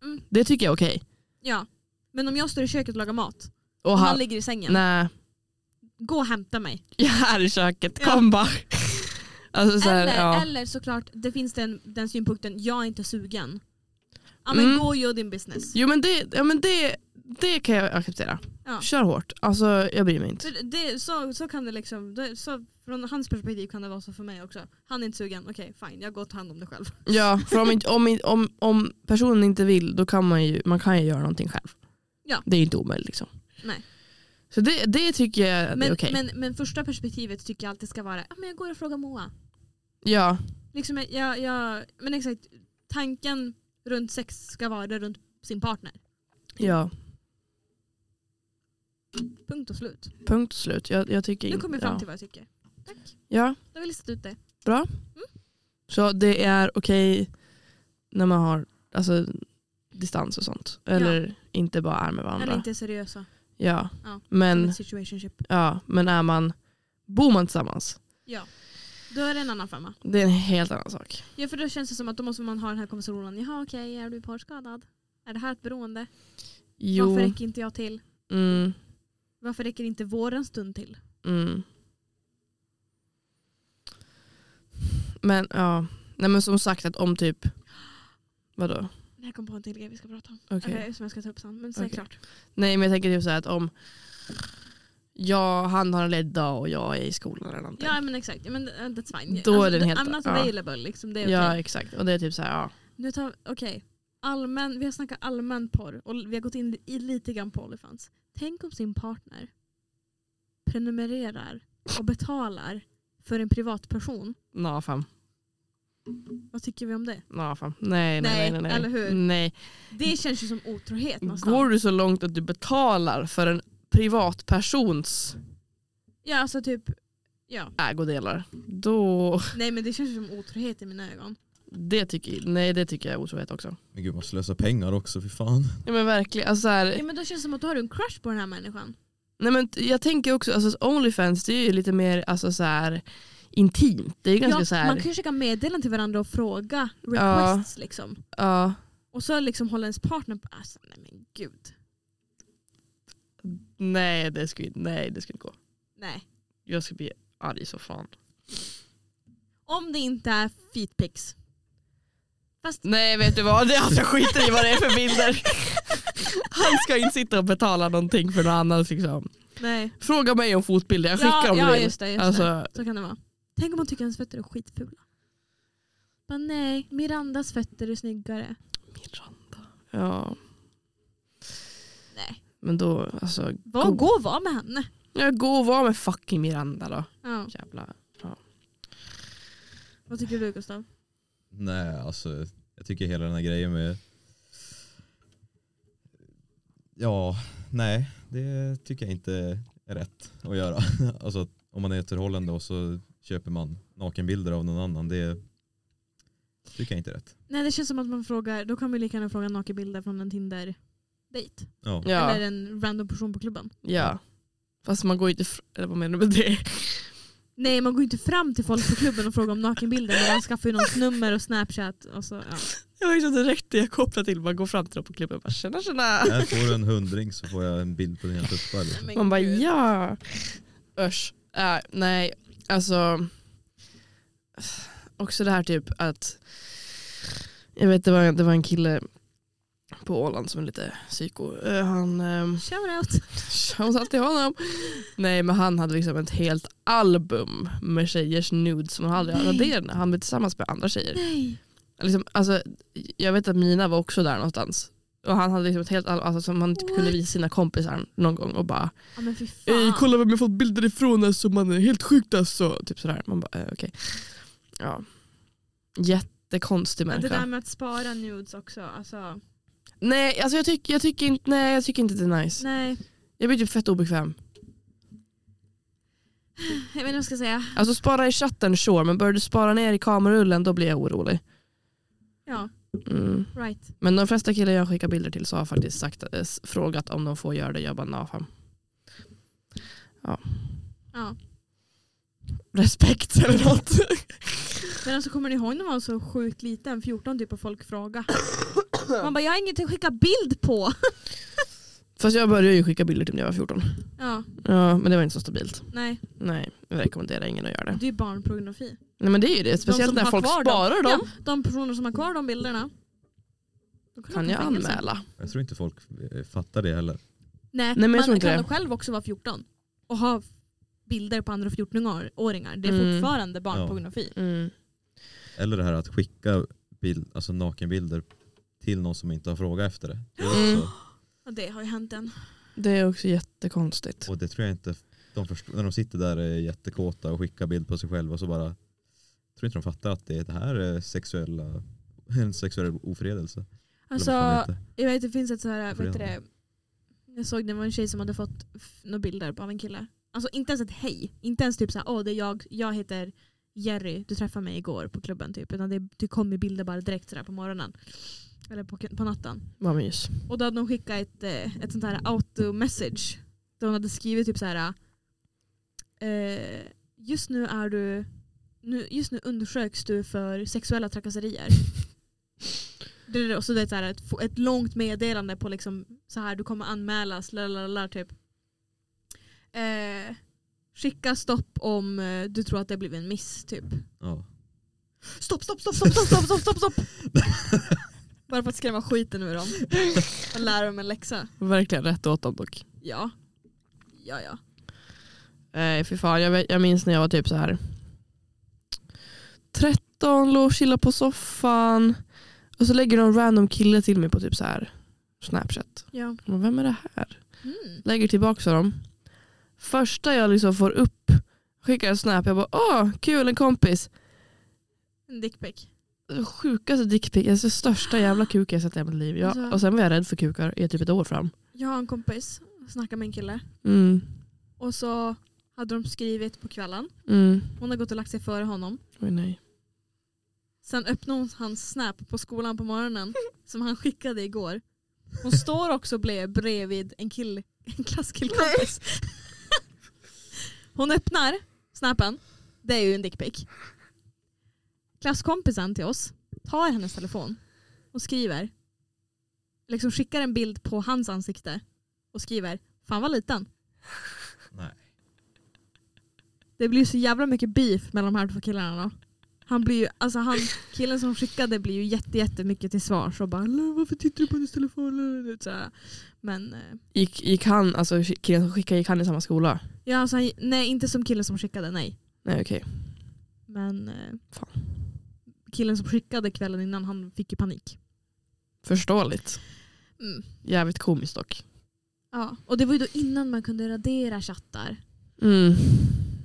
mm. Det tycker jag är okej. ja. Men om jag står i köket och lagar mat, Och och han, han, ligger i sängen, nej, gå och hämta mig. jag är i köket, Ja. kom bara. Alltså så här, eller, ja. eller såklart, det finns den, den synpunkten, jag är inte sugen. Ja men Mm. gå och gör din business. Jo men, det, ja, men det, det kan jag acceptera. Ja. Kör hårt, alltså jag bryr mig inte. För det, så, så kan det liksom, det, så, från hans perspektiv kan det vara så för mig också. Han är inte sugen, okej fine, jag går och tar hand om det själv. Ja, för om, inte- om, inte- om, om personen inte vill då kan man ju, man kan ju göra någonting själv. Ja. Det är inte omöjligt liksom. Nej. Så det, det tycker jag det är Men, okej. men, men första perspektivet tycker jag alltid ska vara ah, men jag går och frågar Moa. Ja, Liksom, jag, jag, men exakt, tanken runt sex ska vara runt sin partner. ja, Punkt och slut. punkt och slut. Jag, jag tycker Nu inte- kommer vi fram ja. till vad jag tycker. Tack, Ja, då har vi listat ut det. så det är okej när man har alltså, distans och sånt. Eller inte bara är med varandra. Eller inte seriösa. Ja. Ja, som Men, ett situationship. ja, men är man, bor man tillsammans Ja. Då är det en annan femma. Det är en helt annan sak. Ja, för då känns det som att då måste man ha den här konversationen. Jaha okej, är du parskadad? Är det här ett beroende? Jo. Varför räcker inte jag till? Mm, Varför räcker inte våren stund till? mm. Men ja. Nej men som sagt att om typ. Vadå? Det här kom på en till grej vi ska prata om. Okej. Eller som jag ska ta upp sen. Men säg Okej. klart. Nej men jag tänker typ så här att om. Ja han har en ledig dag och jag är i skolan eller någonting. Ja men exakt, Ja, men eh, that's fine. Då är den helt- I'm not ja. available liksom. Det är okej. Ja, exakt. Och det är typ så här. Ja. Nu tar okej. Allmän, vi har snackat allmän porr och vi har gått in i lite grann på Onlyfans. Tänk om sin partner prenumererar och betalar för en privatperson. Nå fan. Vad tycker vi om det? Nå fan. Nej Nej, nej nej. nej, nej. eller hur? Nej. Det känns ju som otrohet någonstans. Går du så långt att du betalar för en privatpersons Ja, alltså typ, ja. ägodelar. Då, Nej men det känns ju som otrohet i mina ögon. det tycker, nej, det tycker jag är otrohet också. Men gud man slösar pengar också, för fan. Ja, men verkligen. Alltså, så här, Ja, men då känns det som att du har en crush på den här människan. nej, men jag tänker också, alltså, Onlyfans det är ju lite mer alltså, så här, intimt. Det är ju ganska Ja, så här, Man kan ju skicka meddelanden till varandra och fråga Ja. requests liksom. ja, Och så liksom håller ens partner på, alltså nej men gud. nej, det skulle, nej det skulle inte gå. Nej. Jag skulle bli arg så fan. Om det inte är feetpics. Nej vet du vad, det är jag skiter i vad det är för bilder. [LAUGHS] Han ska inte sitta och betala någonting för någon annan. Liksom. [LAUGHS] Nej. Fråga mig om fotbilder, jag skickar ja, om du ja, vill. just det, just det. Alltså, Så kan det vara. Tänk om man tycker ens fötter är skitfula. Men nej, Mirandas fötter är snyggare. Miranda. Ja, Nej. men då alltså. Vad gå och var med henne. Jag går och var med fucking Miranda då. Ja. Jävla. Vad tycker du Gustav? Nej, alltså jag tycker hela den här grejen med... Ja, nej, det tycker jag inte är rätt att göra. [LAUGHS] Alltså att om man är i ett förhållande och så köper man nakenbilder av någon annan, det tycker jag inte är rätt. Nej det känns som att man frågar, då kan man ju lika gärna fråga nakenbilder från en tinder dejt Ja. Ja, Eller en random person på klubben. ja. Fast man går ju inte, fr- eller vad menar du med det? Nej man går ju inte fram till folk på klubben och frågar om nakenbilder. Men man skaffar ju någons nummer och snapchat. Och så, ja. Det var ju så direkt det jag kopplade till, man går fram till dem på klubben och bara tjena tjena. Här får du en hundring så får jag en bild på dina tuppar. Liksom. Man bara ja. Usch. Äh, nej, alltså. Också det här typ att. Jag vet det var, det var en kille på Åland som är lite psyko. Eh, Han, ehm, [LAUGHS] Shoutout. shoutout till honom. Nej men han hade liksom ett helt album med tjejers nudes som han aldrig hade Nej. raderat när han blev tillsammans med andra tjejer. Nej. Liksom, alltså, jag vet att Mina var också där någonstans. Och han hade liksom ett helt album alltså, som han typ kunde What? visa sina kompisar någon gång och bara Ja men fy fan. Ey, Eh, kolla vem jag fått bilder ifrån, alltså, man är helt sjukt alltså. Typ sådär. Man bara, eh, okej. Ja. Jättekonstig Men människa. det där med att spara nudes också. Alltså, Nej, alltså jag, tycker, jag tycker inte, nej, jag tycker inte det är nice. nej. Jag blir typ fett obekväm. Jag vet inte vad jag ska säga. Alltså spara i chatten sure, men börjar du spara ner i kamerullen då blir jag orolig. Ja, Mm. right. Men de flesta killar jag skickar bilder till så har faktiskt sagt, eh, s- frågat om de får göra det. Jag bara, nah, fan. Ja. Respekt eller något. [LAUGHS] Men alltså kommer ni ihåg när man var så sjukt liten? 14 typ och folk fråga. Man bara jag har inget att skicka bild på. Fast jag började ju skicka bilder till när jag var 14. Ja, Ja, men det var inte så stabilt. nej. Nej, jag rekommenderar ingen att göra det. Det är ju barnpornografi. Nej men det är ju det, speciellt som när har folk kvar dem. sparar dem. Ja, de personer som har kvar de bilderna. de kan Kan åka i jag fängelse. anmäla? Jag tror inte folk eh, fattar det heller. Nej, men jag man tror inte kan det. nog själv också vara 14 och ha bilder på andra 14-åringar. Det är Mm. fortfarande barnpornografi. Eller det här att skicka bild, alltså nakenbilder till någon som inte har frågat efter det. det är Mm. också, Och det har ju hänt än. Det är också jättekonstigt. Och det tror jag inte de förstår, när de sitter där och är jättekåta och skickar bild på sig själva så bara tror inte de fattar att det, det här är sexuella, [LAUGHS] en sexuell ofredelse. Alltså, Eller vad fan det heter. Jag vet det finns ett så här, Varför vet du gör det? Jag såg det var en tjej som hade fått f- några bilder av en kille. Alltså inte ens ett hej. Inte ens typ så här, åh det är jag, jag heter Jerry, du träffade mig igår på klubben typ. Utan det, det kom ju bilder bara direkt sådär på morgonen. Eller på, på natten. Vad mys. Och då hade hon skickat ett, eh, ett sånt här auto-message. Där hon hade skrivit typ så här. Eh, just nu är du nu, just nu undersöks du för sexuella [LAUGHS] trakasserier. det är också det är så här ett, ett långt meddelande på liksom så här du kommer anmälas, lalalala, typ. Eh, skicka stopp om eh, du tror att det blev en miss typ. Ja. Stopp, stopp, stopp, stopp, stopp, stopp, stopp, stopp, stopp. [LAUGHS] Bara för att skrämma skiten [LAUGHS] ur dem. Och lära dem en läxa. Verkligen rätt åt dem dock. Ja. Ja, ja. Nej fy fan, jag, vet- jag minns när jag var typ så här 13, låg och chilla på soffan. Och så lägger någon random kille till mig på typ så här Snapchat. ja. Jag bara, Vem är det här? Mm. Lägger tillbaka dem. Första jag liksom får upp, skickar en snap, jag bara åh kul en kompis. En dickpic. Sjukaste dickpic, alltså största jävla kuk jag sett i hela mitt liv. Alltså- Jag, och sen var jag rädd för kukar i typ ett år fram. Jag har en kompis, snackar med en kille. Mm, Och så hade de skrivit på kvällen. mm. Hon har gått och lagt sig före honom. Oj, nej. Sen öppnade hon hans snap på skolan på morgonen som han skickade igår. Hon står också ble- bredvid en, kill, en klasskillkompis. [LAUGHS] Hon öppnar snappen. Det är ju en dickpic. Klasskompisen till oss tar hennes telefon och skriver. Liksom skickar en bild på hans ansikte och skriver. Fan vad liten. Nej. Det blir så jävla mycket beef mellan de här två killarna då. Han blir ju, alltså han, killen som skickade blir ju jätte, jättemycket till svars och bara "Lä, varför tittar du på hennes telefon? Du vet, så här. Men eh, Gick, gick han, alltså killen som skickade, gick han i samma skola? ja, alltså, han- nej inte som killen som skickade, nej. Nej okej. Men eh, Fan. killen som skickade kvällen innan han fick ju panik. Förståeligt. Mm. Jävligt komiskt dock. Ja. Och det var ju då innan man kunde radera chattar. Mm.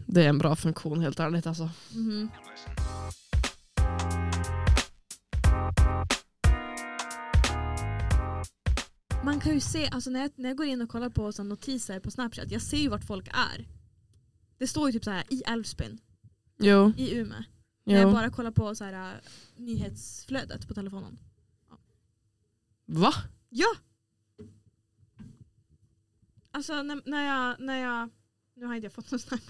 Det är en bra funktion helt ärligt alltså. Mhm. Man kan ju se, alltså när jag, när jag går in och kollar på så här notiser på Snapchat, jag ser ju vart folk är. Det står ju typ så här i Älvsbyn, Jo. i Umeå. När jag jo. bara kollar på så här, äh, nyhetsflödet på telefonen. Va? Ja! Alltså när, när, jag, när jag... Nu har inte jag fått någon snabb.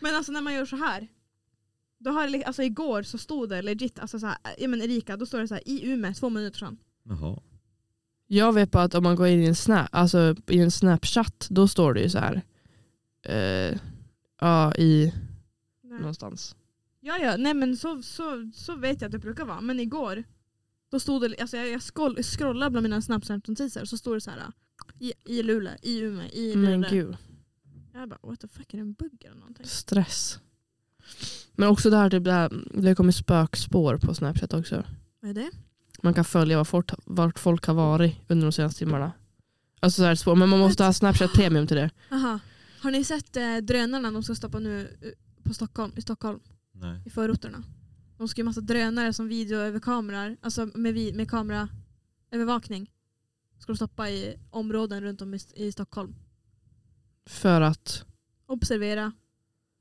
men alltså när man gör så här. Då har det, li- alltså igår så stod det legit, alltså så här, ja men Erika, då står det så här i Umeå två minuter sedan. Jaha. Jag vet bara att om man går in i en, snap, alltså i en Snapchat då står det ju så här. Eh, ja, i Nej. någonstans. Ja ja, nej men så, så, så vet jag att det brukar vara. Men igår, då stod det, alltså jag, jag scroll, scrollade bland mina Snapchat-notiser så stod det så här i, i Luleå, i Umeå, i Men Luleå. gud, Jag bara what the fuck, är det en bugg eller någonting? stress. Men också det här, typ det här, det har kommit spökspår på Snapchat också. Vad är det? Man kan följa var folk, vart folk har varit under de senaste timmarna. Alltså så här spår, men man måste ha Snapchat premium till det. Aha. Har ni sett eh, drönarna de ska stoppa nu eh, på Stockholm, i Stockholm, Nej. i förorterna? De ska ju massa drönare som video över kameror, alltså med, vi, med kameraövervakning. Ska de stoppa i områden runt om i, i Stockholm. För att, Observera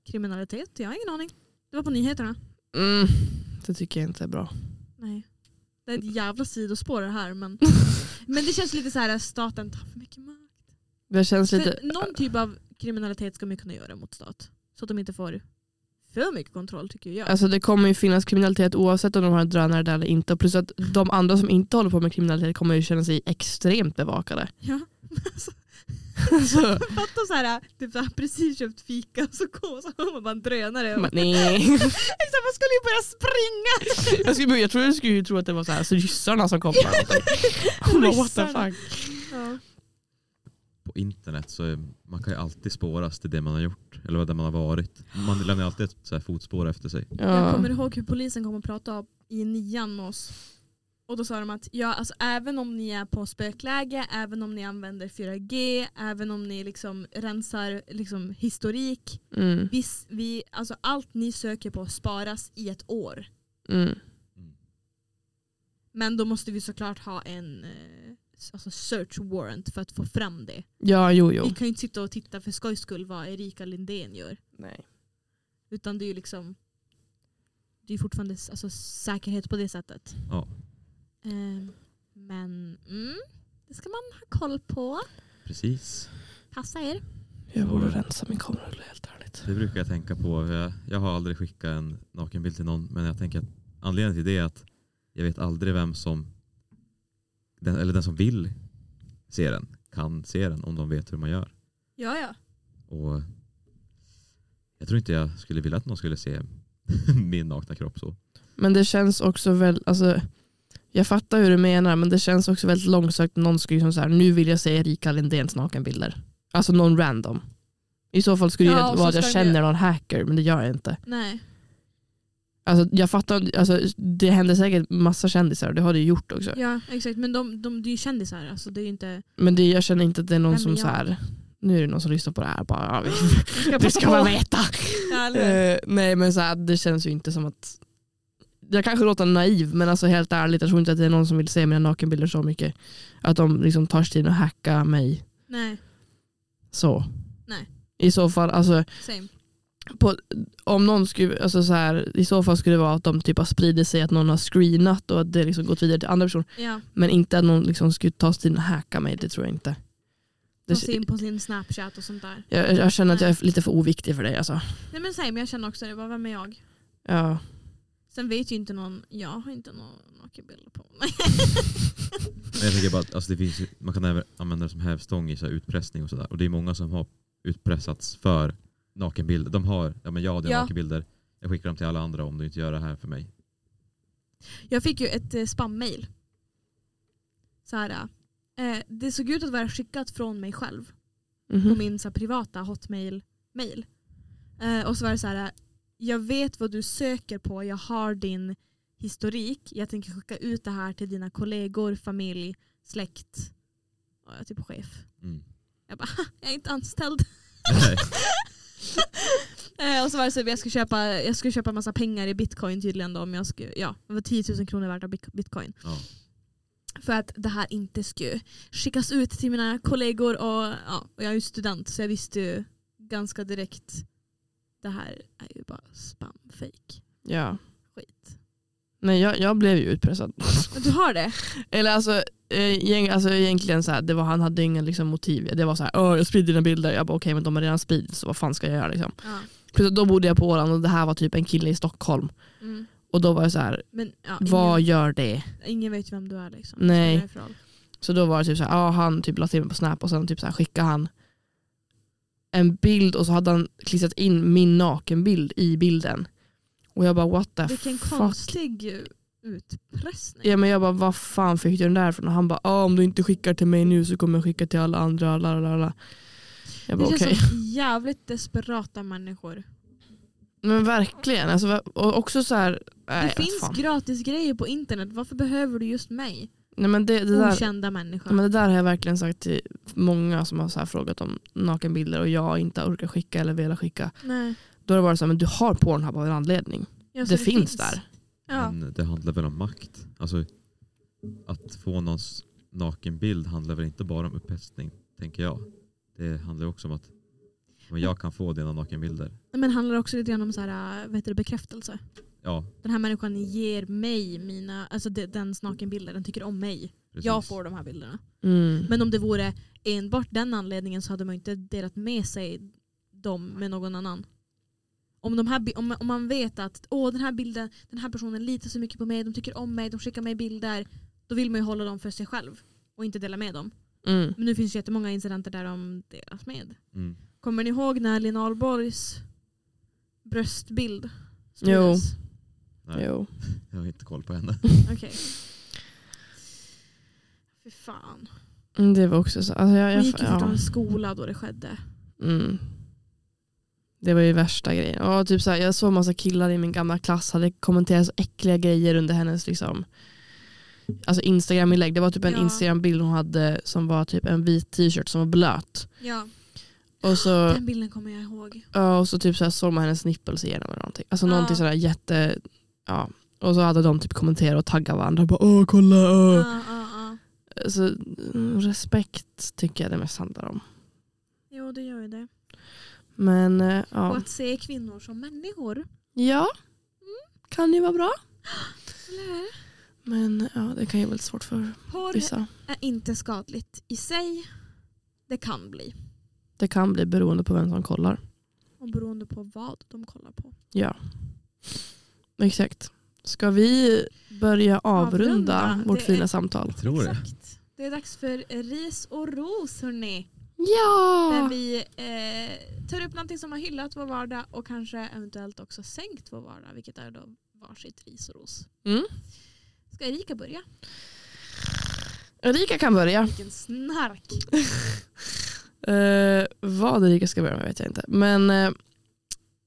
kriminalitet, jag har ingen aning. Det var på nyheterna. mm, det tycker jag inte är bra. Nej. Det är ett jävla sidospår det här [LAUGHS] men, men det känns lite så här att staten tar för mycket makt. Det känns lite, För någon typ av kriminalitet ska man ju kunna göra mot stat. Så att de inte får för mycket kontroll tycker jag. Alltså det kommer ju finnas kriminalitet oavsett om de har en drönare där eller inte. Och Plus att de andra som inte håller på med kriminalitet kommer ju känna sig [LAUGHS] extremt bevakade. Ja. Alltså, Alltså, Fatta så här, typ så här, precis köpt fika och så kom så hör man bara en drönare. men Man, [LAUGHS] nej. exakt, man skulle ju börja springa. Jag, skulle, jag tror jag skulle ju tro att det var så här, så ryssarna som [LAUGHS] kom. Bara, bara, What the Ryssarna. fuck. På internet så är, man kan ju alltid spåras till det man har gjort. Eller vad där man har varit. Man lämnar ju alltid ett så här fotspår efter sig. Jag Ja. kommer ihåg hur polisen kom och pratade i nian med oss. Och då sa de att ja, alltså, även om ni är på spökläge, även om ni använder 4G, även om ni liksom rensar liksom, historik. Mm, Vi, vi, alltså, allt ni söker på sparas i ett år. mm. Mm. Men då måste vi såklart ha en eh, alltså, search warrant för att få fram det. Ja, jo, jo. Vi kan ju inte sitta och titta för skojs skull vad Erika Lindén gör. Nej. Utan det är ju liksom det är ju fortfarande s- alltså, säkerhet på det sättet. Ja. Ehm, men mm, det ska man ha koll på. Precis. Passa er. Jag borde rensa min kamerarulle helt ärligt. exakt. Det brukar jag tänka på. för Jag, jag har aldrig skickat en nakenbild till någon men jag tänker att anledningen till det är att jag vet aldrig vem som den, eller den som vill se den kan se den om de vet hur man gör. Ja, ja. Och jag tror inte jag skulle vilja att någon skulle se [LAUGHS] min nakna kropp så. Men det känns också väl, alltså, jag fattar hur du menar men det känns också väldigt långsökt om någon skulle liksom så här, nu vill jag se Erika Lindéns nakenbilder. Alltså någon random. I så fall skulle Ja, det och så vara att jag ska det- känner någon hacker men det gör jag inte. Nej. Alltså, jag fattar, alltså, det händer säkert massa kändisar, det har det ju gjort också. Ja, exakt. Men de, de, det är ju kändisar. Alltså, det är ju inte... Men det, jag känner inte att det är någon Nej, men som jag- så här, nu är det någon som lyssnar på det här bara, [LAUGHS] ja, vi- Vi ska det passa ska på. man veta. [LAUGHS] Ja, eller hur? Eh, nej men så här, det känns ju inte som att, jag kanske låter naiv men alltså helt ärligt jag tror inte att det är någon som vill se mina nakenbilder så mycket. Att de liksom tar sig tid och hacka mig Nej, så. Nej. I så fall, alltså, same. på, om någon skulle, alltså så här, i så fall skulle det vara att de typ har spridit sig, att någon har screenat och att det liksom gått vidare till andra personer. Ja, Men inte att någon liksom skulle ta sig tid och hacka mig, det tror jag inte. de Det, ser in på sin Snapchat och sånt där. jag, jag känner att jag är lite för oviktig för dig alltså. Nej men same, jag känner också det. Bara, vem är jag? Ja. Sen vet ju inte någon, jag har inte någon nakenbild på mig. Men jag tänker bara att alltså det finns, ju- man kan även använda det som hävstång i så här utpressning och sådär. Och det är många som har utpressats för nakenbilder. De har, ja men jag har Ja. ja. nakenbilder. Jag skickar dem till alla andra om du inte gör det här för mig. Jag fick ju ett eh, spammail. Så här, eh, det såg ut att vara skickat från mig själv. Mhm. på min så här, privata hotmail-mail. Eh, och så var det så här, jag vet vad du söker på, jag har din historik, jag tänker skicka ut det här till dina kollegor, familj, släkt, och jag är typ chef. Mm. Jag bara, "Ha, jag är inte anställd. [LAUGHS] Nej. Eh, och så var det så att jag skulle köpa, jag skulle köpa massa pengar i bitcoin tydligen då, om jag skulle, ja, det var 10 000 kronor värt av bit- bitcoin. Ja. För att det här inte skulle skickas ut till mina kollegor och, ja, och jag är ju student så jag visste ju ganska direkt det här är ju bara spam, fake, Ja. skit. Nej, jag, jag blev ju utpressad. [LAUGHS] Men du har det? Eller alltså, eh, gäng, alltså egentligen så här, det var, han hade inga liksom, motiv. Det var så här, "Åh, jag spridde dina bilder. Jag bara okej men de har redan spridits så vad fan ska jag göra liksom. Ja. Plus, då bodde jag på Åland och det här var typ en kille i Stockholm. Mm. Och då var jag så här, Men ja, vad ingen, gör det? ingen vet ju vem du är liksom. Nej. Så därifrån. Så då var det typ så här, ja han typ la till mig på Snap och sen typ så här, skickade han en bild och så hade han klistrat in min nakenbild i bilden. Och jag bara what the Vilken fuck. konstig eh, utpressning. Ja, men jag bara, vad fan fick du den där ifrån? Och han bara, ah, om du inte skickar till mig nu så kommer jag skicka till alla andra. La, la, la. Jag det bara, känns okej. som jävligt desperata människor. Men verkligen. Alltså, va- och också så här, nej, det jag vet finns fan. gratis grejer på internet, varför behöver du just mig? nej, men det, det, där, Okända människa. men det där har jag verkligen sagt till många som har så här frågat om nakenbilder och jag inte orkar skicka eller velat skicka. Nej. Då har det varit så här, men du har Pornhub av en anledning. Ja, så det, finns där. Ja. Men det handlar väl om makt. Alltså, att få någons nakenbild handlar väl inte bara om upphetsning, tänker jag. Det handlar ju också om att men jag kan få dina nakenbilder. Men handlar också lite grann om så här, äh, vad heter det, bekräftelse. Ja, Den här människan ger mig mina, alltså de- dens nakenbilder, den tycker om mig. precis. Jag får de här bilderna. Mm. Men om det vore enbart den anledningen så hade man ju inte delat med sig dem med någon annan. Om, de här, bi- om, om man vet att Åh, den här bilden, den här personen litar så mycket på mig, de tycker om mig, de skickar mig bilder. Då vill man ju hålla dem för sig själv och inte dela med dem. Mm. Men nu finns det jättemånga incidenter där de delas med. Mm. Kommer ni ihåg när Lena Ahlborgs bröstbild Jo. spriddes? Nej, Jo. Jag har inte koll på henne. Okej. Fy fan. Mm, Det var också så. Alltså, jag, Hon jag, gick ju ja. fortfarande i skola då det skedde. Mm. Det var ju värsta grejen. Ja, typ så här, jag såg massa killar i min gamla klass hade kommenterat så äckliga grejer under hennes liksom, alltså Instagram-inlägg. Det var typ en Ja. Instagram-bild hon hade som var typ en vit t-shirt som var blöt. Ja. Och så, Den bilden kommer jag ihåg. ja, och så typ så här, såg man hennes nippels igenom eller någonting. Alltså Ja. någonting sådär jätte, ja. Och så hade de typ kommenterat och taggat varandra. Bara, Åh, kolla, åh. Ja, ja, ja. Så, mm, respekt tycker jag det mest handlar om. Jo, det gör ju det. Men eh, Och ja. att se kvinnor som människor. Ja, kan ju vara bra. Eller hur? Men ja, det kan ju vara lite svårt för Porr vissa. är inte skadligt i sig. Det kan bli. Det kan bli beroende på vem som kollar. Och beroende på vad de kollar på. Ja, exakt. Ska vi börja avrunda, Avrunda, vårt det fina är- samtal? Jag tror det. Exakt. Det är dags för ris och ros hörni. Där Ja! vi eh, tar upp någonting som har hyllat vår vardag och kanske eventuellt också sänkt vår vardag. Vilket är då varsitt ris och ros. Mm. Ska Erika börja? Erika kan börja. Vilken snark. Eh, vad Erika ska börja med vet jag inte. Men eh,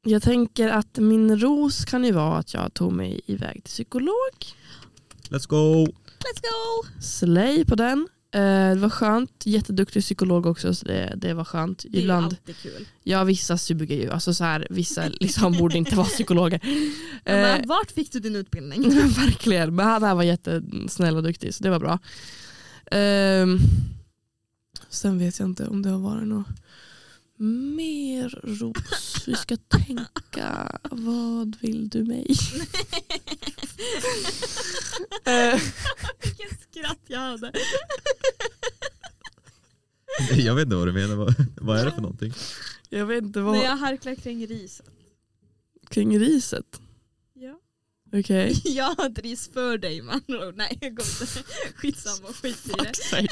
jag tänker att min ros kan ju vara att jag tog mig iväg till psykolog. [LAUGHS] Let's go! Let's go! Slay på den. Eh, det var skönt. Jätteduktig psykolog också så det, det var skönt. Det är ju Ibland, alltid kul. ja vissa suger ju. Alltså så här, vissa liksom borde inte vara psykologer. [LAUGHS] Ja, Eh, men vart fick du din utbildning? [LAUGHS] Verkligen, men han här var jättesnäll och duktig så det var bra. Ehm, sen vet jag inte om det har varit något mer ros. Vi ska tänka, vad vill [LAUGHS] du mig? [LAUGHS] [LAUGHS] Eh, Vilken skratt jag hade. Jag vet inte vad du menar. Vad, vad är det för någonting? jag vet inte vad. När jag harklar kring ris. Kring riset? Ja. Okej. [LAUGHS] Jag har ett ris för dig man. Nej jag går inte. Skitsamma, skit i det. Fuck's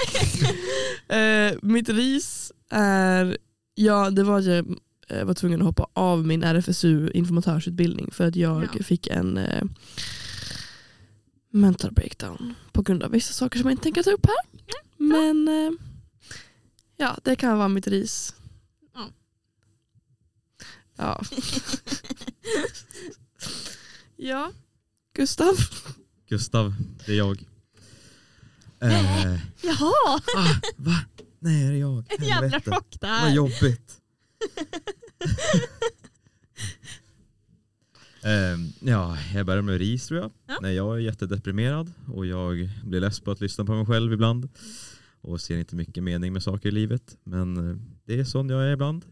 [LAUGHS] sake. Eh, mitt ris är, ja det var att jag eh, var tvungen att hoppa av min RFSU informatörsutbildning för att jag Ja. fick en eh, mental breakdown på grund av vissa saker som jag inte tänker ta upp här. Men eh, ja, det kan vara mitt ris. Ja. Ja. ja. Gustav. Gustav, det är jag. [LAUGHS] Eh, Jaha, ah, va? Nej, är det jag? en jävla Helvete. chock [LAUGHS] Vad där. jobbigt. Ehm, ja, jag börjar med ris tror jag. Ja. Nej, jag är jättedeprimerad och jag blir less på att lyssna på mig själv ibland. Och ser inte mycket mening med saker i livet. Men eh, det är sån jag är ibland.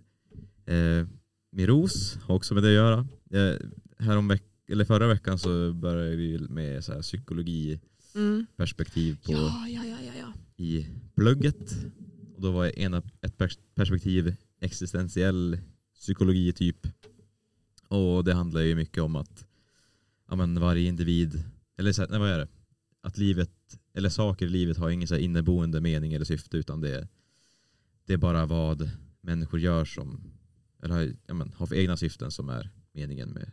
Eh, min ros har också med det att göra. Eh, härom veck- eller förra veckan så började vi med så här psykologiperspektiv på Ja, ja, ja, ja, ja. i plugget. Och då var jag ena, ett pers- perspektiv existentiell psykologi typ. Och det handlar ju mycket om att ja, men varje individ, eller så här, nej, vad är det? Att livet, eller saker i livet har ingen så här inneboende mening eller syfte utan det, det är bara vad människor gör som, eller har, ja, men, har för egna syften som är meningen med,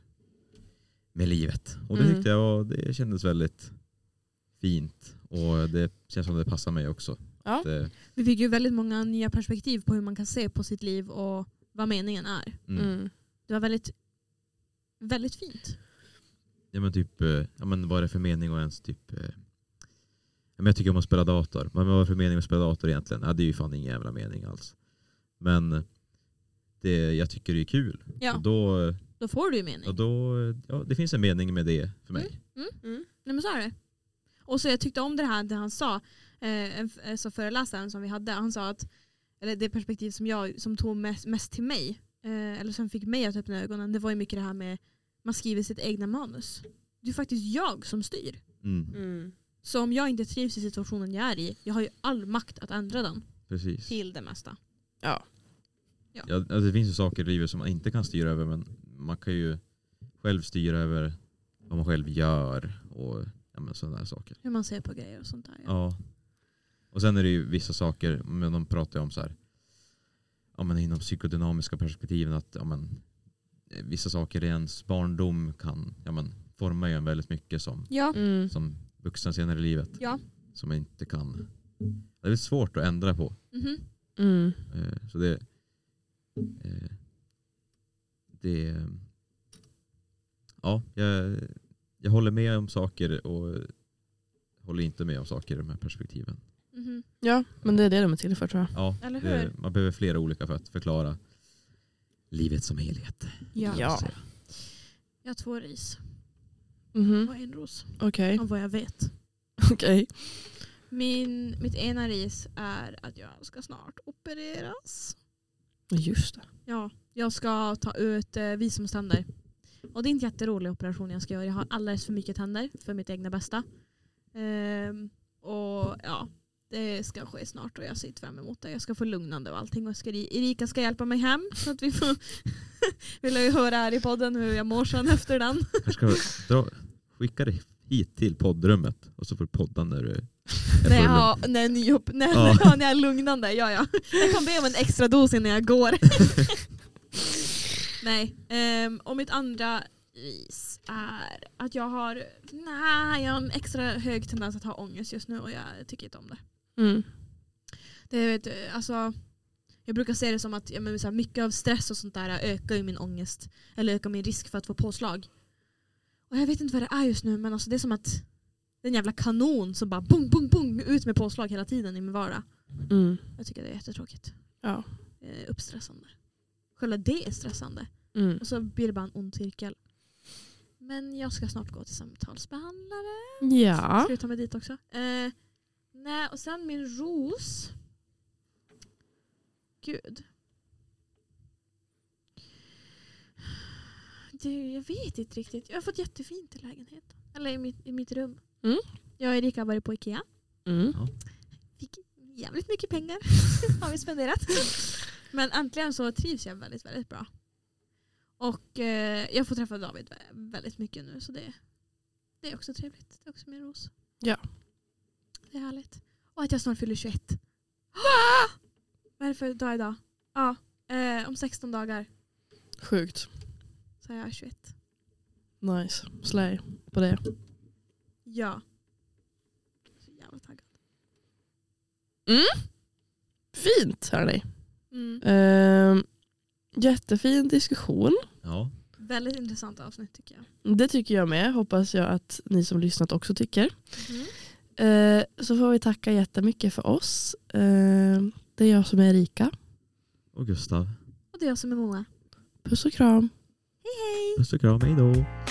med livet. Och det Mm. tyckte jag var, det kändes väldigt fint och det känns som det passar mig också. Ja. Att, eh, Vi fick ju väldigt många nya perspektiv på hur man kan se på sitt liv och vad meningen är. mm. Mm. Det var väldigt, väldigt fint. Ja men typ, eh, ja, men vad är det för mening att ens typ eh, ja, men jag tycker om att spela dator. Men vad är det för mening med att spela dator egentligen? Ja, det är ju fan ingen jävla mening alls. Men det, jag tycker det är kul. Ja. Och då, Då får du ju mening. och då, ja, det finns en mening med det för mig. Nej men så är det. Och så jag tyckte om det här det han sa, eh, en f- eh, så föreläsaren som vi hade, han sa att, eller det perspektiv som jag som tog mest, mest till mig, eh, eller som fick mig att öppna ögonen, det var ju mycket det här med man skriver sitt egna manus. Det är faktiskt jag som styr. Mm, Så om jag inte trivs i situationen jag är i, jag har ju all makt att ändra den Precis. till det mesta. Ja, alltså, det finns ju saker i livet som man inte kan styra över men man kan ju själv styra över vad man själv gör och ja, men sådana där saker. Hur man ser på grejer och sånt där. Ja. Ja. Och sen är det ju vissa saker, men de pratar ju om så här, ja, men inom psykodynamiska perspektiven att ja, men, eh, vissa saker i ens barndom kan ja, men, forma ju en väldigt mycket som, ja. Mm. som vuxen senare i livet. Ja. Som man inte kan, det är väldigt svårt att ändra på. Mhm. Mm. Eh, så det, eh, det ja, jag, jag håller med om saker och håller inte med om saker i de här perspektiven. Mhm. Ja, men det är det de är till för tror jag. Ja, Eller det- hur? man behöver flera olika för att förklara livet som helhet. Ja. Ja. Jag har två ris Mhm. och en ros. Okej. Av vad jag vet. Okej. Min, mitt ena ris är att jag ska snart opereras. Just det. Ja, jag ska ta ut eh, visumständer. Och det är inte en jätterolig operation jag ska göra. Jag har alldeles för mycket tänder för mitt egna bästa. Ehm, och ja, det- det ska ske snart och jag ser fram emot det. Jag ska få lugnande och allting. Och ska, Erika ska hjälpa mig hem så att vi får [LAUGHS] vill ju höra här i podden hur jag mår sen efter den. Här ska vi dra, skicka dig hit till poddrummet och så får du podda när du är När jag full. har, när jag är nyupp, när, Ja. ja. [LAUGHS] när jag är lugnande, ja ja. Jag kan be om en extra dos innan jag [LAUGHS] går. Nej, ehm, och mitt andra is är att jag har, nej jag har en extra hög tendens att ha ångest just nu och jag tycker inte om det. Mm. det vet, du, alltså, jag brukar se det som att ja, men, så här, mycket av stress och sånt där ökar ju min ångest. Eller ökar min risk för att få påslag. Och jag vet inte vad det är just nu men alltså, det är som att det är en jävla kanon som bara bung, bung, bung ut med påslag hela tiden i min vardag. Mm. Jag tycker det är jättetråkigt. Ja. Eh, uppstressande. Själva det är stressande. Mm. Och så blir det bara en ond cirkel. Men jag ska snart gå till samtalsbehandlare. Ja. Ska du ta mig dit också? Eh, nej, och sen min ros. Gud. Du, jag vet inte riktigt. Jag har fått jättefint i lägenheten. Eller i mitt, i mitt rum. Mm. Jag och Erika har varit på Ikea. Mm. Fick jävligt mycket pengar. [LAUGHS] har vi spenderat. Men äntligen så trivs jag väldigt, väldigt bra. Och eh, jag får träffa David vä- väldigt mycket nu så det, det är också trevligt. Det är också min ros. Ja. Det är härligt. Och att jag snart fyller 21. Vad är det för dag idag? Ja, eh, om 16 dagar Sjukt. så är jag 21. Nice. Slay på det. Ja. Så jävla taggad. Mm. Fint hörni. Mm. Ehm, jättefin diskussion. Ja, Väldigt intressant avsnitt tycker jag. Det tycker jag med. Hoppas jag att ni som lyssnat också tycker. Mm. Eh, så får vi tacka jättemycket för oss. Eh, det är jag som är Erika. och Gustav. Och det är jag som är Moa. Puss och kram. Hej hej! Puss och kram, hej då.